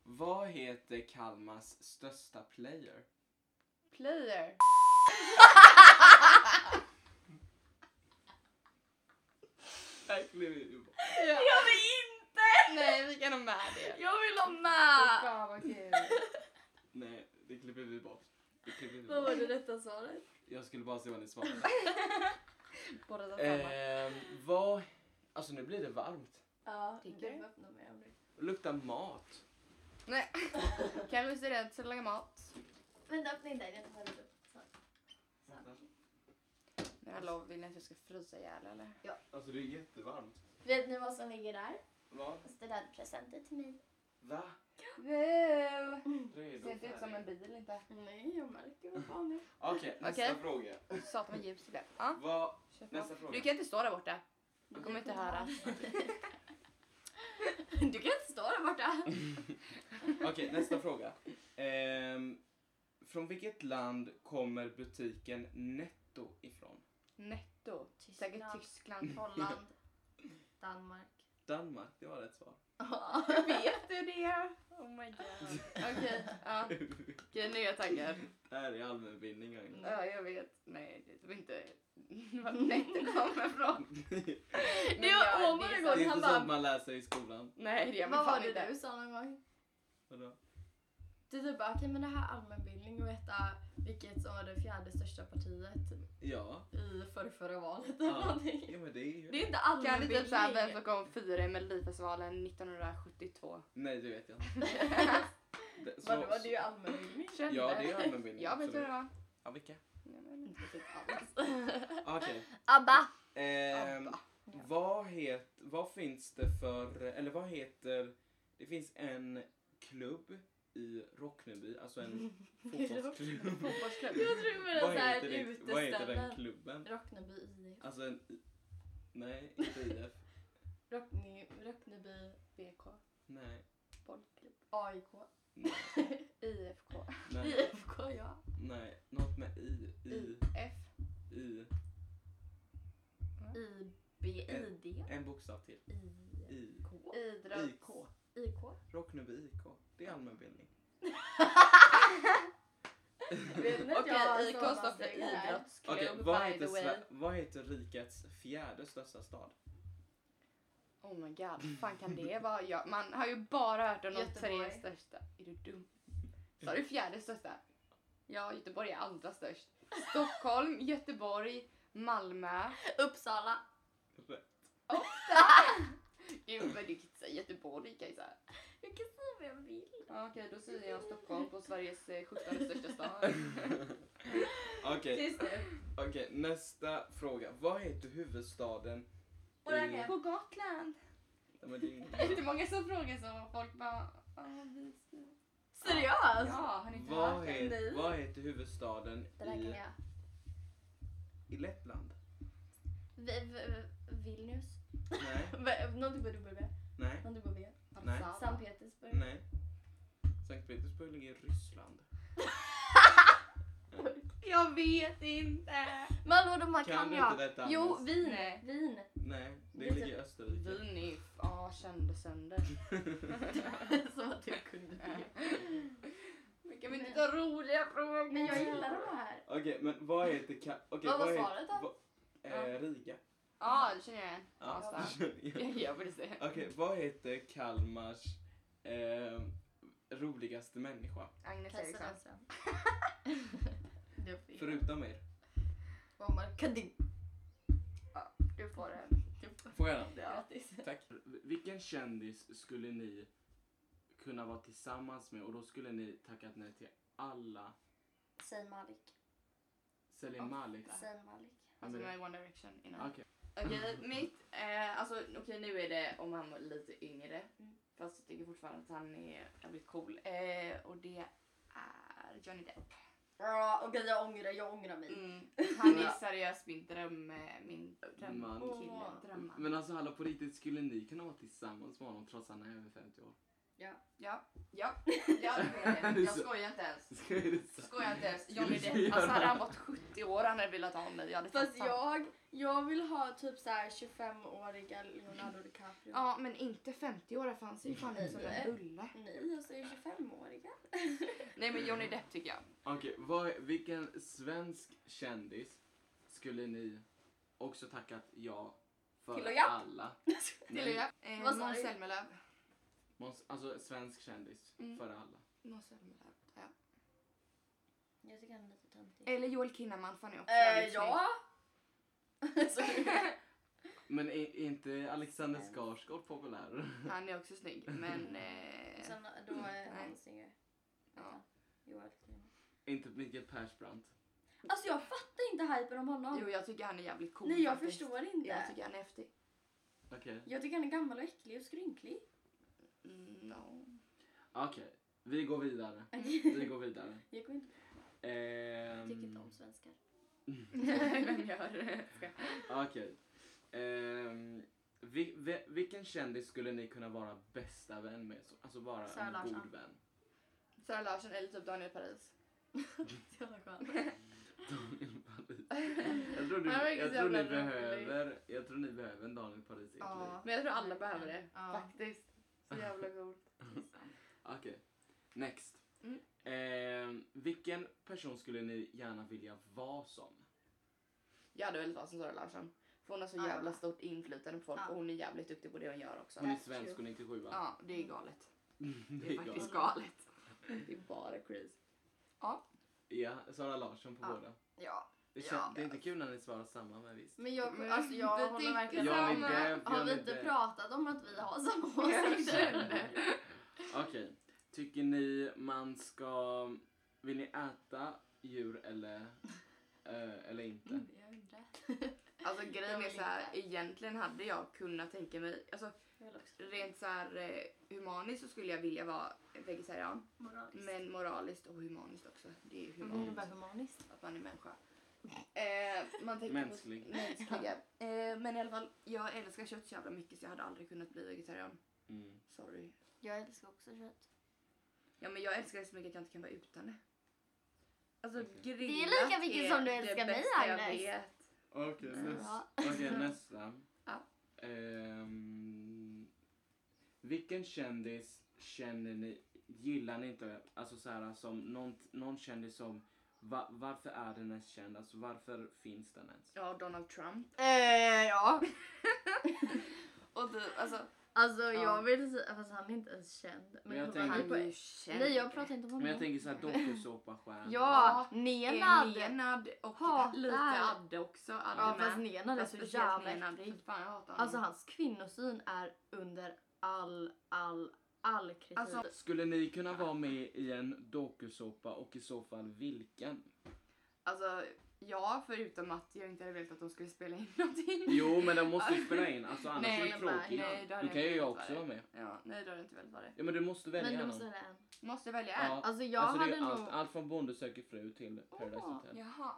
C: Vad heter Kalmars största player?
B: Player.
A: Jag vill inte!
B: Nej vi kan ha med det. Fy
A: Jag vill ha med!
B: Fan vad kul.
C: Nej, det klipper vi bort. Det klipper vi
A: Vad
C: bort.
A: var det rätta svaret?
C: Jag skulle bara se vad
B: <laughs>
C: ni svarade.
B: <laughs> Båda tar samma.
C: Ehm, vad... Alltså nu blir det varmt.
A: Ja,
B: Tycker
A: du
B: du?
A: får öppna mig om du
C: Det luktar mat.
B: Nej. <laughs> Kalle är student så lagar mat.
A: Vänta, öppna inte den. Jag tar lite. Så. Så.
B: Men hallå vill ni att jag ska frysa ihjäl eller?
C: Alltså det är jättevarmt.
A: Vet ni vad som ligger där?
C: Va?
A: Studentpresenter till mig. Mm.
C: Va?
B: Wow.
C: Redo?
B: Ser inte ut som en bil inte.
A: Nej, jag märker vad fan det
C: Okej, nästa
B: Okej.
C: fråga.
B: Satan vad ljus det blev. Ja,
C: Vad...
B: kör på.
C: Nästa fråga.
B: Du kan inte stå där borta. Du kommer inte höra.
A: Du kan inte stå där borta.
C: Okej, nästa fråga. Ehm, från vilket land kommer butiken Netto ifrån?
B: Netto.
A: Tyskland.
B: Säkert Tyskland.
A: <laughs> Holland.
B: <laughs>
A: Danmark.
C: Danmark, det var rätt svar. <laughs>
B: Vet du det? Oh my god. Okej, ja. Okej, nu är jag taggad.
C: det här är allmänbildning. Agnes.
B: Ja, jag vet. Nej, det var inte var Netto kommer ifrån.
C: <laughs>
B: Men
A: Det var-
B: jag-
A: oh my
B: det är sant.
A: god. Mm. Han
C: Det är inte
A: bara-
C: sånt man läser i skolan.
B: Nej, det gör man
A: Vad var
B: fan
A: det
B: inte.
A: du sa någon gång?
C: Vadå?
A: Du typ bara, okej men det här är allmänbildning och veta vilket som var det fjärde största partiet
C: Ja.
A: i förrförra valet eller
C: ja.
A: någonting.
C: ja men det är ju...
A: Det är inte
B: Kan du
A: allmänbildning.
B: typ såhär vem som kom fyra i Melodifestivalen 1972?
C: Nej, det
A: <laughs>
C: vet jag inte. Det- så-
A: Vadå, det är ju allmänbildning.
B: Kände.
C: Ja, det är
B: <laughs>
C: allmänbildning,
B: Jag vet
C: absolut.
B: vad det var.
C: Ja, vilka? Ah,
B: Nej, men inte typ alls.
A: <laughs>
C: Okej.
A: ABBA!
C: Ehm,
B: Abba.
C: vad, het, vad finns det för... Eller vad heter... Det finns en klubb i Rockneby, alltså en <laughs> fotbollsklubb.
B: Fotbollsklubb.
A: Mm. <laughs> Jag tror det var
C: vad,
A: såhär ett
C: heter den, <laughs> vad heter
A: uteställe.
C: den klubben?
A: Rockneby IF.
C: Alltså en... i- Nej, inte IF.
A: Rockne, Rockneby
B: BK.
C: Nej.
B: Bollklubb.
A: AIK.
C: Nej.
B: IFK.
C: Nej.
A: IFK ja.
C: nej något med I. I.
B: IF.
C: I.
A: IB, ID,
C: En bokstav till.
A: IK.
C: I.
B: Idrott.
C: IK.
A: IK.
C: Rockneby IK. Det är allmänbildning.
A: Vet ni att jag har en
B: Okej, IK står för
A: sommarstuga här?
B: idrottsklubb
C: Okej, vad,
B: by the
C: heter
B: way.
C: Sve- vad heter rikets fjärde största stad?
B: Oh my god, fan kan det <laughs> vara? Jag, man har ju bara hört om de tre
A: Göteborg.
B: största. Är du dum? Sa du fjärde största? Ja, Göteborg är andra störst. <laughs> Stockholm, Göteborg, Malmö.
A: Uppsala.
B: Gud vad du kan säga Göteborg Kajsa.
A: Jag kan säga vad jag vill.
B: Ja, Okej, då säger jag Stockholm på Sveriges eh, 17 <laughs> största stad.
C: Okej,
A: Tyst nu.
C: okej, nästa fråga. Vad heter huvudstaden?
A: Och där kan jag-
B: På Gotland.
C: Nej, men det är inget
B: Det är inte
C: bra.
B: många som frågar så. Folk bara... "Ah, vi ska-"
A: Seriöst?
B: Ja, har ni inte
C: vad,
B: hört det?
C: heter,
A: Nej.
C: vad heter huvudstaden
A: Det där kan
C: i,
A: jag.
C: i Lettland?
A: Vi, vi, Vilnius.
C: Nej,
A: V- Någonting på W.
C: nej,
A: Någonting på V.
C: Nej.
B: Warszawa.
A: Sankt Petersburg.
C: nej. Sankt Petersburg ligger i Ryssland.
B: Jag vet inte.
A: Men hallå de här kan,
C: Kan du
A: jag.
C: inte detta,
A: jo,
C: Agnes?
A: vin.
B: Nej. <laughs>
A: Vin.
C: Nej, det
A: Lite-
C: ligger i Österrike.
B: Vin är ju ja, kände sönder. <laughs>
A: Som att jag kunde det.
B: <laughs> Men kan vi inte ta roliga frågor?
A: Men jag gillar de här.
C: <laughs> Okej, men vad heter... Ka- okay,
A: Vad var
C: heter-
A: svaret då?
C: vad- eh, Riga.
B: Ja, det känner jag igen.
C: <laughs> Ja.
B: <laughs> Jag gör på det sättet.
C: Okej, vad heter Kalmars eh, roligaste människa?
B: Agnes
A: Kajsa
B: Eriksson.
A: Lundström. <laughs> Det var fel.
C: Förutom er.
A: Omar Kadin.
B: Du får det.
A: Du får-
C: Får jag den?
A: Grattis.
C: Tack. Vilken kändis skulle ni kunna vara tillsammans med och då skulle ni tackat nej till alla?
A: Säg Malik.
C: Selim
B: Åh,
C: Malik?
A: Säg Malik.
B: Alltså med One Direction innan.
C: Okej.
B: Okej, mitt. Eh, alltså, okej, nu är det om han var lite yngre.
A: Mm.
B: Fast jag tycker fortfarande att han är jävligt cool. Eh, och det är Johnny Depp.
A: Ja, okej jag ångrar, jag ångrar mig.
B: Mm. Han är seriöst min dröm... eh, Min drömman.
C: Man.
B: Kille. Drömman.
C: Men alltså hallå på riktigt, skulle ni kunna vara tillsammans med honom trots att han är över 50 år? <laughs>
B: Ja. Ja. ja det är <laughs> det. jag skojar inte ens.
C: Ska jag det så?
B: Skojar inte ens. Johnny Depp. Alltså hade han varit 70 år han hade velat ha mig. Jag hade
A: Fast
B: tagit han.
A: jag, jag vill ha typ så här 25-åriga Leonardo DiCaprio.
B: Ja men inte 50 år. för Han ser ju fan ut som en bulle.
A: Nej, jag säger <laughs> 25-åriga.
B: Nej men Johnny Depp tycker jag.
C: Okej, vad, vilken svensk kändis skulle ni också tackat ja för
A: Till och japp.
C: alla? Nej,
B: Till jag. Eh,
A: Vad sa
B: Måns
A: du?
B: Zelmerlöw.
C: Måns- Alltså svensk kändis
B: Mm.
C: för alla.
B: Måns Zelmerlöw. Ja.
A: Jag tycker han är lite töntig.
B: Eller Joel Kinnaman för han är också
A: Eh,
B: jävligt
A: ja. <laughs>
B: snygg.
C: Men är, är inte Alexander Skarsgård populär? <laughs>
B: Han är också snygg men... Eh,
A: Sen då är
B: Nej.
A: han singel.
B: ja.
A: Joel Kinnaman.
C: inte Mikael Persbrandt?
A: Alltså jag fattar inte hypen om honom.
B: Jo jag tycker han är jävligt cool
A: Nej jag
B: faktiskt.
A: förstår inte.
B: Jag tycker han är häftig.
C: Okej.
A: Jag tycker han är gammal och äcklig och skrynklig.
B: Mm, no.
C: Okej, vi går vidare. Vi går vidare.
A: <laughs> Jag går inte,
C: Ehm,
A: jag tycker inte om <laughs> svenskar.
B: <laughs> Vem gör det?
C: Ah, Okej. Ehm, vi, vi, vilken kändis skulle ni kunna vara bästa vän med? Så- Alltså vara
A: Sara
C: en
A: Larsson.
C: god vän. <laughs>
B: Sara Larsson eller typ Daniel <laughs> Paris.
A: Så jävla skönt.
C: Daniel Paris. Jag tror, du,
B: Han verkar
C: jag
B: så
C: tror ni
B: jävla rolig.
C: behöver, jag tror ni behöver en Daniel Paris i ert liv.
B: Men jag tror alla behöver det
A: Ja.
B: faktiskt. Så jävla coolt.
C: Ah, Okej, next.
B: Mm.
C: Ehm, vilken person skulle ni gärna vilja vara som?
B: Jag hade velat vara som Sara Larsson. För hon har så
A: Ja.
B: jävla stort inflytande på folk
A: Ja.
B: och hon är jävligt duktig på det hon gör också.
C: Hon är
A: That's
C: svensk
A: true.
C: och 97 va?
B: Ja, det är galet.
C: Det <laughs>
B: Det är
C: är
B: faktiskt
C: galet.
B: galet. Det är bara crazy.
C: Ja, Sara Larsson på
B: Ja.
C: båda.
A: <laughs> Ja.
C: Det, kän-
A: Ja.
C: det är inte kul när ni svarar samma men visst.
A: Men jag,
B: Men
A: alltså jag
B: vi
A: håller
B: tycker
A: verkligen
C: samma.
A: med.
C: Johnny Depp,
A: Har vi
C: Johnny
A: inte
C: Depp.
A: pratat om att vi har samma
B: Jag
A: åsikter?
B: känner.
C: Okej, tycker ni man ska... Vill ni äta djur eller, eh, eller inte?
A: Jag undrar.
B: Alltså grejen
A: Jag
B: är
A: vill
B: så här,
A: inte.
B: egentligen hade jag kunnat tänka mig, alltså
A: Jag vill också.
B: rent så här eh, humaniskt så skulle jag vilja vara vegetarian.
A: Moraliskt.
B: Men moraliskt och humaniskt också. Det är ju
A: Vad
B: humaniskt
A: innebär humaniskt?
B: att man är människa. Eh, man tänker
C: Mänsklig.
B: På mänskliga. Eh, men i alla fall, jag älskar kött så jävla mycket så jag hade aldrig kunnat bli vegetarian.
C: Mm.
B: Sorry.
A: Jag älskar också kött.
B: Ja men jag älskar det så mycket att jag inte kan vara utan det. Alltså
C: Okej.
B: grillat
A: Det är lika mycket
B: är
A: som du
B: det
A: älskar mig,
B: bästa jag
A: Agnes.
B: vet.
C: Okej,
A: Mm.
C: nästa.
A: Ja. <laughs>
C: Okej, nästa.
B: Ja.
C: Ehm, vilken kändis känner ni, gillar ni inte? Alltså så här, som någon, någon kändis som, va, varför är den ens känd? Alltså varför finns den ens?
B: Ja, Donald Trump.
A: Eh, ja.
B: Och du, alltså,
A: Alltså
B: Ja.
A: jag vill säga, fast han är inte ens känd.
C: Men jag
A: han
C: tänker-
A: är
B: han
A: på-
B: är ju känd.
A: Nej jag pratar inte om honom.
C: Men jag
A: <laughs>
C: tänker såhär dokusåpastjärna.
A: Ja,
B: Är
A: Nenad.
B: Nenad och
A: Hatar.
B: lite Adde också. Adde
A: Ja
B: med.
A: fast Nenad är
B: Fast
A: så
B: speciellt
A: jävla
B: Nenad, det är fan jag hatar
A: Alltså
B: honom.
A: hans kvinnosyn är under all, all, all kritik.
B: Alltså,
C: Skulle ni kunna vara med i en dokusåpa och i så fall vilken?
B: Alltså, ja förutom att jag inte hade velat att de skulle spela in <laughs> någonting.
C: Jo men den måste ju spela in, alltså annars
B: Nej,
C: är det
B: jag bara,
C: tråkigt.
B: nej, då hade
C: Då
B: jag
C: kan ju
B: inte
C: jag
B: varit
C: också
B: där.
C: vara med.
B: Ja, nej då hade jag inte velat vara det.
C: Ja men du måste välja
A: men du
C: någon.
A: måste välja en.
B: Måste äh, jag välja en?
C: Ja,
A: Alltså jag
C: alltså det är
A: hade
C: ju
A: nog...
C: allt, allt från Bonde söker fru till Paradise
A: Åh,
C: Hotel.
B: Jaha.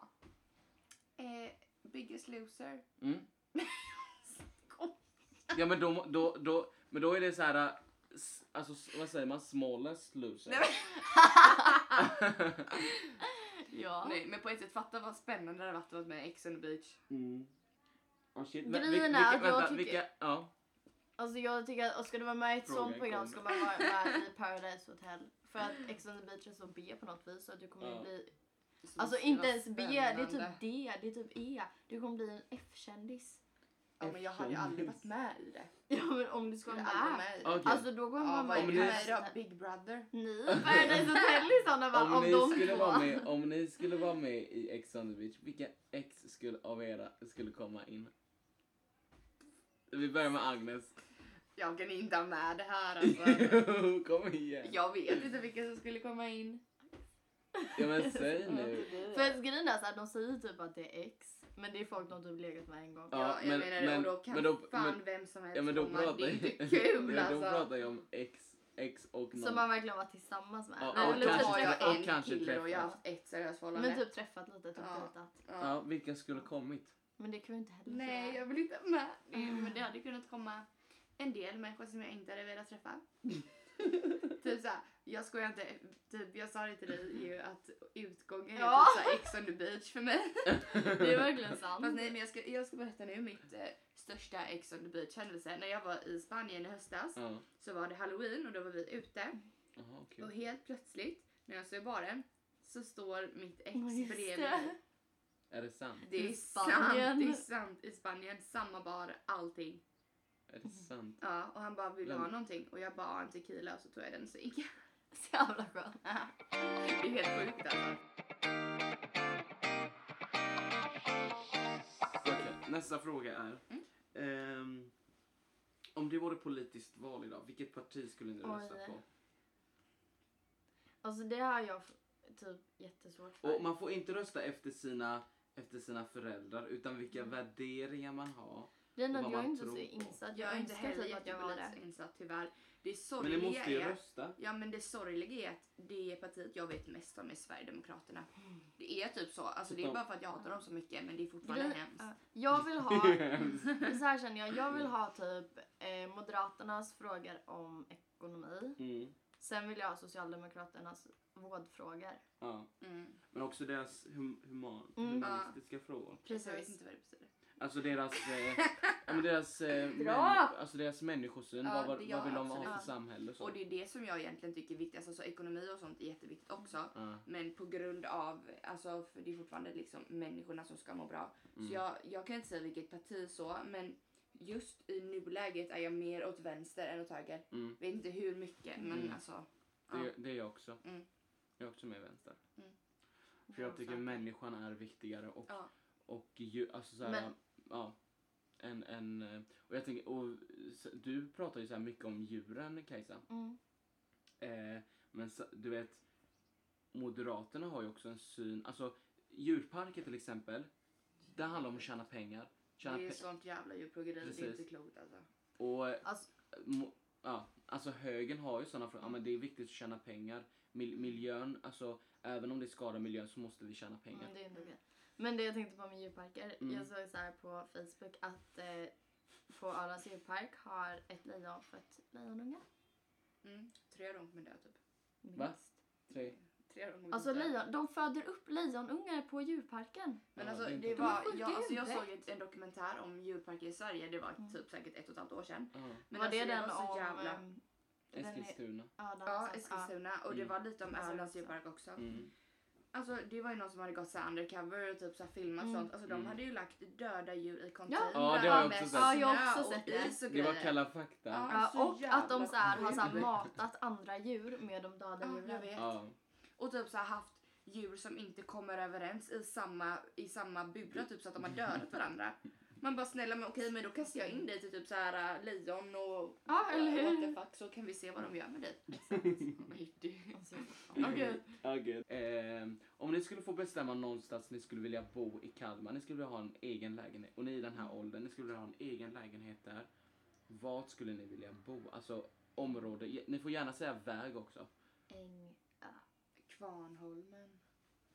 B: Eh, biggest loser.
C: Mm. ja men då, då, då, men då är det så här, äh, s- alltså s- vad säger man, smallest loser.
B: Nej,
A: <laughs> Ja.
B: Nej, men på ett sätt, fatta vad spännande det hade varit att vara med i Ex on the beach.
C: <laughs> Mm. Oh shit.
A: Grejen
C: Vil- vil-
A: är
C: vilka-
A: att jag
C: vänta,
A: tycker-
C: vilka, ja.
A: Alltså jag tycker att och ska du vara med i ett
C: Frågan
A: sånt program
C: kommer.
A: ska man vara med
C: <laughs>
A: i Paradise Hotel. För att Ex on the beach är så B på något vis så att du kommer
C: Ja.
A: ju bli...
B: Så
A: Alltså
B: det skulle
A: inte
B: vara
A: ens B, det är
B: spännande.
A: typ D, det är typ E. Du kommer bli en F-kändis. <laughs>
B: Ja, men jag hade ju aldrig varit med i det.
A: Ja men om du ska
B: Skulle
A: vara
B: aldrig
A: med.
B: med i det.
C: Okej.
A: Alltså då
B: Ja,
A: kommer
B: vad
A: man med
B: är
C: om
A: i
B: det
C: ni-
A: Paradise
B: här då?
A: Hotel.
B: <laughs> Big Brother?
A: Ni Paradise Hotel i sådana fall
C: Om
A: om,
C: ni,
A: de
C: skulle
A: två.
C: vara med, om ni skulle vara med i Ex on the beach, vilka ex skulle, av era skulle komma in? Vi börjar med Agnes.
B: Jag kan inte ha med det <laughs> här alltså.
C: <laughs> Kom igen.
B: Jag vet inte vilka som skulle komma in.
C: Ja men säg nu.
A: För att grejen är såhär, de säger typ att det är X. Men det är folk de typ legat med en gång.
C: Ja,
B: Ja, jag
C: men-
B: menar
C: men-
B: det. Och då kan
C: men då-
B: fan
C: men-
B: vem som helst
C: Ja men då
B: komma.
C: pratar
B: Det är inte
C: <laughs> Ja, men
B: kul
C: Då
B: alltså.
C: pratar jag om ex, ex och någon.
A: Som man verkligen varit tillsammans med.
C: Ja,
B: Nej,
A: Och
B: men
C: och
B: då
A: lite
B: har
C: kanske- typ
A: träffat-
B: jag
C: och
B: en
C: kanske
B: kille och jag har
C: träffat.
B: haft ett seriöst förhållande.
A: Men typ träffat lite, typ
B: Ja.
A: dejtat.
B: ja.
C: Ja, vilka skulle kommit?
A: Men det kan vi inte heller
B: Nej,
A: säga.
B: jag vill inte ha med. Nej, men det hade kunnat komma en del människor som jag inte hade velat träffa. <laughs> typ såhär, jag skojar inte. Typ, jag sa det till dig ju att utgången
A: Ja.
B: är typ såhär Ex on the beach för mig.
A: Det är
B: <laughs>
A: verkligen
B: Fast
A: sant.
B: nej, men jag ska, jag ska berätta nu mitt eh, största Ex on the beach händelse. När jag var i Spanien i höstas
C: Ja.
B: så var det halloween och då var vi ute.
C: Jaha, okej.
B: Och helt plötsligt när jag står i baren så står mitt ex
A: Ja, just
B: bredvid
A: det. <laughs>
B: mig.
C: Är det sant?
B: Det är
A: I
B: sant,
A: Spanien.
B: det är sant. I Spanien, samma bar, allting.
C: Är det sant?
B: Ja, och han bara vill du ha
C: Lämna.
B: någonting och jag bara "Ja, en tequila och så tog jag den och så gick jag.
A: Så jävla skönt.
B: <laughs> Det är helt sjukt alltså. <clears throat>
C: Okej, nästa fråga är.
B: Mm.
C: ehm, om det vore politiskt val idag, vilket parti skulle ni
A: Oj.
C: rösta på?
A: Alltså det har jag f- typ jättesvårt för.
C: Och man får inte rösta efter sina, efter sina föräldrar utan vilka
B: Mm.
C: värderingar man har.
A: Grejen är
C: och
A: att
C: vad
A: jag är
C: man
A: inte så
C: tror på.
A: insatt.
B: Jag är inte
A: önskar
B: heller
A: typ att jag var det.
B: jättepolitiskt insatt tyvärr. Det
C: Men ni
B: sorgliga
C: måste ju
B: är... <laughs>
C: rösta.
B: Ja men det sorgliga är att det partiet jag vet mest om är Sverigedemokraterna. Det är typ så. Alltså det är bara för att jag hatar dem så mycket men det är fortfarande
A: Grejen-
B: hemskt.
A: ja. Jag vill ha,
C: <laughs>
A: så här känner jag, jag vill ha typ eh, Moderaternas frågor om ekonomi.
C: Mm.
A: Sen vill jag ha Socialdemokraternas vårdfrågor.
C: Ja.
B: Mm.
C: Men också deras hum- human-
A: Mm.
C: humanistiska frågor.
A: Precis.
B: Jag vet inte vad det betyder.
C: Alltså deras, eh, ja, men deras, eh,
B: <laughs> Bra!
C: människ- alltså deras människosyn.
B: Ja,
C: vad, vad
B: det-
C: vill
B: ja,
C: de ha
B: absolut.
C: för samhälle? och Så.
B: Och det är det som jag egentligen tycker är viktigast. Alltså ekonomi och sånt är jätteviktigt också.
C: Ja.
B: Men på grund av, alltså för det är fortfarande liksom människorna som ska må bra.
C: Mm.
B: Så jag, jag kan inte säga vilket parti så, men just i nuläget är jag mer åt vänster än åt höger.
C: Mm.
B: Vet inte hur mycket, men
C: Mm.
B: alltså.
C: Det, det är jag också.
B: Mm.
C: Jag är också med i vänster.
B: Mm.
C: För jag tycker
B: Fan.
C: människan är viktigare och,
B: Ja.
C: och ju, alltså så här,
A: Men-
C: ja. En, en, eh, och jag tänker, och, s- du pratar ju så här mycket om djuren Kajsa.
A: Mm.
C: Eh, men så, du vet, Moderaterna har ju också en syn, alltså djurparker till exempel, det handlar om att tjäna pengar. Tjäna
B: Det är
C: pe-
B: sånt jävla djurplågeri, det är
C: Precis.
B: inte klokt alltså.
C: och eh,
A: Alltså,
C: Mo- ja, alltså högern har ju sådana frågor. Ja, men det är viktigt att tjäna pengar. Mil- miljön, alltså även om det skadar miljön så måste vi tjäna pengar.
A: Mm, det är ändå okej. Men det jag tänkte på med djurparker.
C: Mm.
A: Jag såg så här på Facebook att eh, på Arlands djurpark har ett lejon fött lejonunge.
B: Mm. Tre rom men det typ.
A: Minst.
C: Va? Mm. Tre.
B: Tre rom
A: Alltså lejon, de föder upp lejonungar på djurparken.
B: Men
C: Ja,
B: alltså,
C: det är
B: det
C: inte
B: var,
A: klokt.
B: jag, alltså jag
A: Det är
B: såg ett, en dokumentär om djurparker i Sverige, det var
A: Mm.
B: typ säkert ett och ett halvt år sedan.
C: Ja.
B: Men
A: var
B: alltså,
A: det den
B: var så
A: om...
B: jävla...
A: ehm, den är-
C: Eskilstuna.
A: Ja, Alltså, den
B: Ja,
A: sen-
B: Eskilstuna. Och det
C: Mm.
B: var lite om
A: Ja,
B: Ölands
A: det är
B: djurpark också.
C: Mm.
B: Alltså det var ju någon som hade gått så här undercover och typ så här filmat
A: Mm.
B: sånt. Alltså de
C: Mm.
B: hade ju lagt döda djur i
A: Ja,
B: containrar
C: Ja, det har jag
B: med
C: också sett.
B: snö
A: Ja, jag har också
B: och
A: sett det.
B: is och
C: Det var
B: grejer.
C: Kalla fakta.
B: Ja.
A: Ja,
B: Så
A: och att de
B: jävla
A: så här, har så här,
C: sjukt.
A: matat andra djur med de döda
B: Ja, jag
A: djuren.
B: vet.
C: Ja.
B: Och typ så här haft djur som inte kommer överens i samma, i samma bura typ så att de har dödat varandra. Man bara snälla men okej men då kastar jag in dig till typ så här äh, lejon och
A: Ja, eller
B: what
A: hur?
B: the fuck så kan vi se vad de gör med dig.
A: <laughs> Alltså,
B: Okej.
C: Ja, gud. Ehm, om ni skulle få bestämma någonstans ni skulle vilja bo i Kalmar, ni skulle vilja ha en egen lägenhet och ni är i den här åldern, ni skulle vilja ha en egen lägenhet där. Vart skulle ni vilja bo? Alltså område, ge- ni får gärna säga väg också.
A: Äng,
B: Kvarnholmen.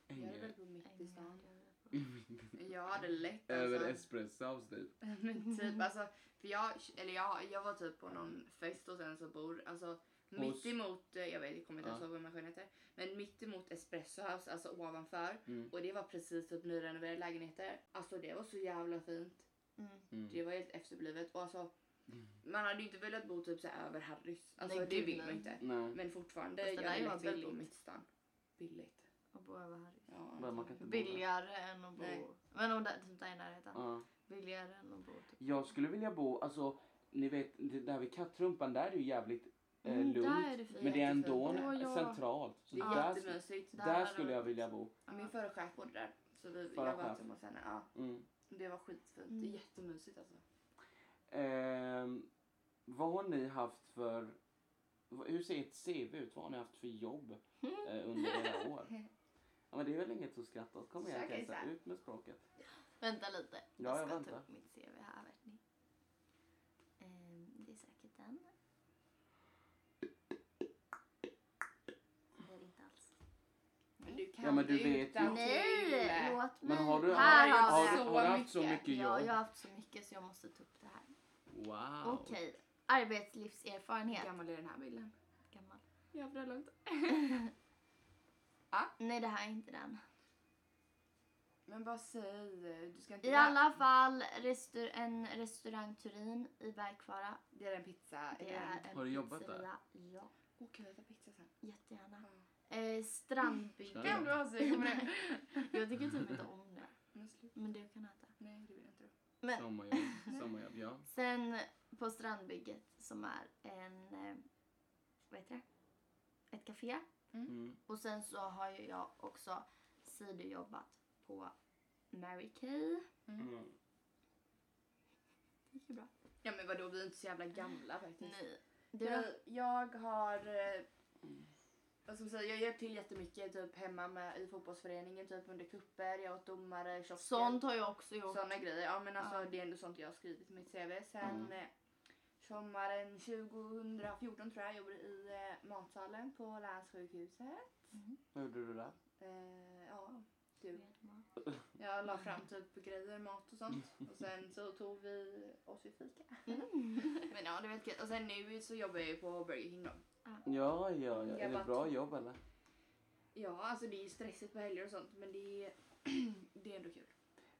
B: Jag hade
C: Ängö.
B: väl på mitt i
A: Mm. ängar.
B: stan. Jag hade lätt
C: Över
B: alltså.
C: Espressos typ.
B: Men
A: Mhm.
B: typ alltså, för jag, eller jag, jag var typ på någon fest och sen så bor, alltså
C: Hos-
B: mitt emot, eh, jag vet jag kommer inte ens
C: Ja.
B: ihåg vad människan heter, men mitt emot Essohouse, alltså ovanför.
C: Mm.
B: Och det var precis typ nyrenoverade lägenheter. Alltså det var så jävla fint.
A: Mm.
C: Mm.
B: Det var helt efterblivet. Och alltså, man hade ju inte velat bo typ så här över Harrys. Alltså
A: Nej,
B: det
A: gud,
B: vill man
A: nej.
B: inte.
C: Nej,
B: Men fortfarande,
A: Fast det
B: jag
A: där
B: hade
A: var
B: lätt velat bo
A: billigt.
B: mittstan. Billigt.
A: Att bo över här.
B: Ja.
C: men man kan inte bo där.
A: Billigare än att bo...
B: Nej.
A: Men om det typ där i närheten.
C: Ja.
A: Billigare än att bo typ...
C: Jag skulle vilja bo, alltså ni vet det där vid Kattrumpan, där är det ju jävligt eh,
A: Mm,
C: lugnt.
A: där är det fint.
C: men det är ändå
A: Jättefint. Åh, ja.
C: centralt. Så
B: Det är
C: där, sk-
B: jättemysigt.
A: Där
C: där
A: hade
C: skulle
A: det
C: jag
A: varit-
C: vilja bo.
B: Ja, Min förra chef bodde där. Så vi,
C: Förra
B: jag var
C: chef.
B: hemma hos henne. Ja,
C: Mm.
B: det var skitfint.
A: Mm.
B: Det är jättemysigt
A: <laughs>
B: alltså.
C: Ehm, vad har ni haft för... v- Hur ser ett CV ut? Vad har ni haft för jobb
B: <laughs>
C: eh, under era år? Ja, men det är väl inget att skratta åt. Kom igen
B: Försök
C: Kajsa,
B: Isa.
C: ut med språket.
A: Vänta lite.
C: Ja, jag
A: jag ska
C: väntar.
A: ta upp mitt CV här. Vet ni. Ehm, det är säkert den. Eller inte alls.
B: Men du kan
C: Ja, men du
B: det
C: vet ju-
B: utan till.
A: Nej! Låt mig.
C: Men har du,
A: här
B: har
A: har
B: jag
A: vi.
C: har,
B: så
C: har du haft så
B: mycket.
C: mycket jobb?
A: Ja, jag har haft så mycket så jag måste ta upp det här.
C: Wow.
A: Okej. Arbetslivserfarenhet.
B: Hur gammal är den här bilden?
A: Gammal.
B: Jävla långt.
A: Nej, det här är inte den.
B: Men bara säg. Du ska inte
A: I
B: vara-
A: alla fall restaur- en restaurang Turin i Bergkvara.
B: Det är en pizza.
A: Det är en
C: Har du jobbat där?
A: pizzeria. Ja,
B: Åh, kan vi äta pizza sen?
A: jättegärna. Eh, Strandbygden.
C: Kan
B: Kan
C: du
B: du ha så? Jag kommer det.
A: <laughs> Jag tycker typ
C: <laughs>
A: inte om det.
B: <laughs> Men slut.
A: Men du kan äta.
B: Nej, det vill jag inte. då.
A: Men
C: Sommarjobb,
B: <laughs>
C: sommarjobb, ja.
A: sen på Strandbygget som är en, eh, vad heter det? Ett café.
C: Mm.
A: Och sen så har ju jag också sidojobbat på Mary Kay.
C: Mm.
A: Det gick ju bra.
B: Ja, men vadå? Vi är inte så jävla gamla faktiskt.
A: Nej. Du då?
B: Nej, Jag har... eh, Vad ska man säga? Jag hjälpt till jättemycket typ hemma med, i fotbollsföreningen typ under kupper, jag har varit domare, kiosken.
A: Sånt har jag också gjort.
B: Såna grejer. Ja men alltså
A: Ja.
B: det är ändå sånt jag har skrivit i mitt CV. Sen
C: Mm.
B: eh, sommaren 2014 tror jag jobbade i eh, matsalen på länssjukhuset.
C: Vad gjorde du där?
B: Eh, ja, du.
C: Mm.
B: Jag la fram typ grejer, mat och sånt.
C: Mm.
B: Och sen så tog vi oss ju fika.
C: Mm.
B: <laughs> Men ja det var helt kul. Och sen nu så jobbar jag ju på Burger King då.
C: Ja, ja, ja. Är
B: Jag
C: det
B: bara-
C: bra jobb eller?
B: Ja, alltså det är ju stressigt på helger och sånt men det är, <clears throat> det är ändå kul.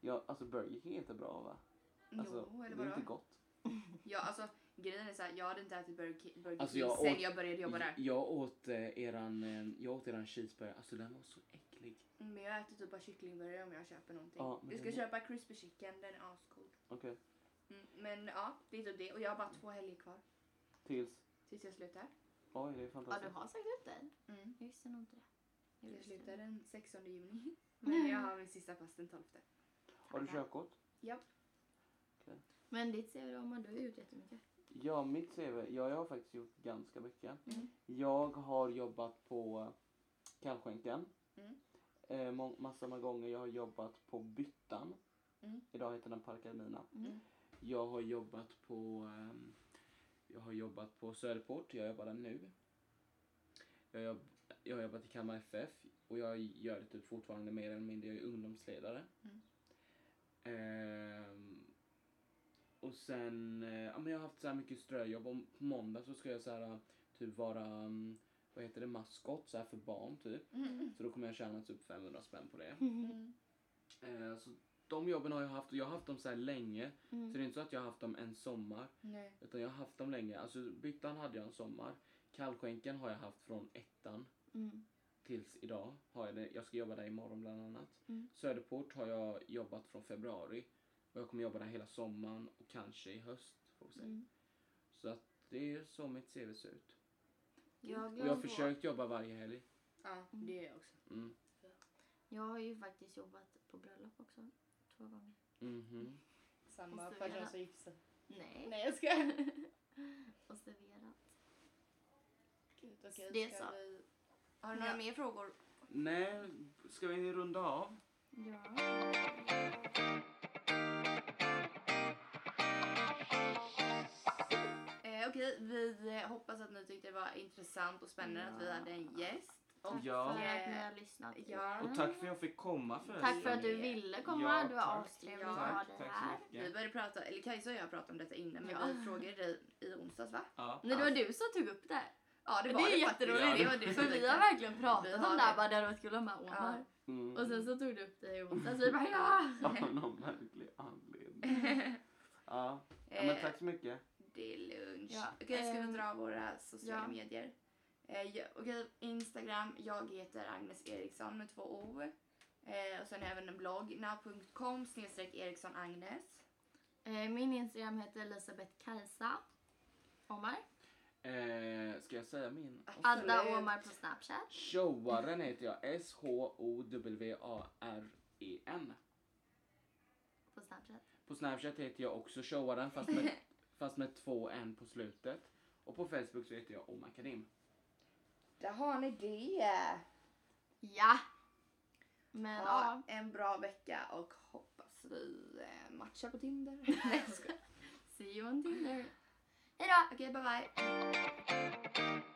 C: Ja, alltså Burger King är inte bra va? Alltså,
B: jo, eller
C: det är inte
B: vadå?
C: gott.
B: Ja, alltså grejen är såhär, jag hade inte ätit Burger Ki- Burger King
C: Alltså, jag
B: sen
C: åt-
B: jag började jobba där.
C: Jag åt eh, eran, eh, jag åt eran cheeseburgare, alltså den var så äcklig.
B: Men jag äter typ bara kycklingburgare om jag köper någonting.
C: Ja, men
B: du ska
C: det-
B: köpa crispy chicken, den är asgod.
C: Okej.
B: Mm, men ja, det är typ det. Och jag har bara två helger kvar
C: Tills,
B: tills jag slutar.
C: oj det är
A: Ja, du
C: fantastiskt.
A: har sagt upp dig. Jag visste nog inte det. Jag
B: Mm, Jag
A: visste
B: slutar
A: det.
B: den 16 <laughs> juni. Men jag har min sista pass den 12.
C: Har du körkort?
B: Japp.
A: Men ditt CV då, man, du har gjort jättemycket.
C: Ja, mitt CV, ja jag har faktiskt gjort ganska mycket.
B: Mm.
C: Jag har jobbat på kallskänkan.
B: Mm.
C: Eh, må- massa med gånger. Jag har jobbat på Byttan.
B: Mm.
C: Idag heter den Parkademina.
A: Mm.
C: Jag har jobbat på ehm, Jag har jobbat på Söderport. Jag jobbar där nu. Jag, jobb, jag har jobbat i Kalmar FF och jag gör det typ fortfarande mer eller mindre. Jag är ungdomsledare.
B: Mm.
C: Ehm, och sen, eh, ja men jag har haft så här mycket ströjobb. Om på måndag så ska jag så här typ vara, mm, vad heter det, maskot så här för barn typ.
B: Mm.
C: Så då kommer jag tjäna typ 500 spänn på det.
B: Mm.
C: Eh, så de jobben har jag haft och jag har haft dem så här länge.
A: Mm.
C: Så det är inte så att jag har haft dem en sommar.
B: Nej.
C: Utan jag har haft dem länge. Alltså byttan hade jag en sommar. Kallskänken har jag haft från ettan
A: Mm.
C: tills idag. Har jag, det. jag ska jobba där imorgon bland annat.
A: Mm.
C: Söderport har jag jobbat från februari. Och jag kommer jobba där hela sommaren och kanske i höst. Får vi se.
A: Mm.
C: Så att det är så mitt CV ser ut.
A: Jag,
C: Och jag har försökt jobba varje helg.
B: Ja, det gör jag också.
C: Mm.
A: jag har ju faktiskt jobbat på bröllop också. Två gånger.
C: Mhm.
B: Samma
A: Måste vi göra-
B: person som gifte sig.
A: Nej.
B: Nej jag skojar.
A: <laughs> Och serverat.
B: Gud, okej,
A: Det är
B: ska
A: så.
B: vi- Har du några
A: Ja.
B: mer frågor?
C: Nej, ska vi runda av?
A: Ja.
B: Eh, Okej, vi eh, hoppas att ni tyckte det var intressant och spännande att vi
C: Ja.
B: hade en gäst. eh,
A: Tack
C: Ja.
A: för att ni har lyssnat.
B: Ja.
C: Och tack för att jag fick komma förresten.
A: Ah. Tack för att du ville komma.
C: Ja,
A: du var
C: tack.
A: astrevlig
B: Ja.
A: att ha dig
C: tack
A: här.
C: så
B: Vi
C: mycket.
B: började prata, eller Kajsa och jag pratade om detta innan men
A: Ja.
B: vi frågade dig i onsdags va?
C: Ja. alltså,
A: Nej, det var du som tog upp det.
B: Ja, det
A: Det,
B: var det,
A: är
B: faktiskt.
A: jätteroligt.
C: Ja,
B: Det var det
A: För
B: som
A: vi har
B: <laughs>
A: verkligen pratat
B: Vi
A: om
B: har
A: det här.
B: det.
A: Bara, det hade varit kul om jag
B: Ja.
A: ordnar.
C: Mm.
A: Och sen så tog du upp det i onsdags.
B: <laughs>
A: Vi bara ja!
C: <laughs> Av någon märklig anledning. Ja. ja, men tack så mycket.
B: Eh, Det är lunch.
A: Ja,
B: Okej, ska
A: ehm,
B: vi dra våra sociala
A: ja.
B: medier? Eh, jag, okej, Instagram. Jag heter Agnes Eriksson med två O. Eh, och sen har jag även en blogg. Now.com snedstreck Eriksson Agnes.
A: Eh, Min Instagram heter Elisabeth Kajsa Omar.
C: Eh, ska jag säga min?
A: Adda Omar på Snapchat.
C: Showaren heter jag. S-H-O-W-A-R-E-N.
A: På Snapchat.
C: E På Snapchat heter jag också showaren fast med, fast med två N på slutet. Och på Facebook så heter jag Omakarim.
B: Där har ni det.
A: Ja! Men
B: Ha
A: ja.
B: en bra vecka och hoppas vi eh, matchar på Tinder. <laughs> Nej, jag skojar.
A: see you on Tinder. Hejdå!
B: Okej, bye bye.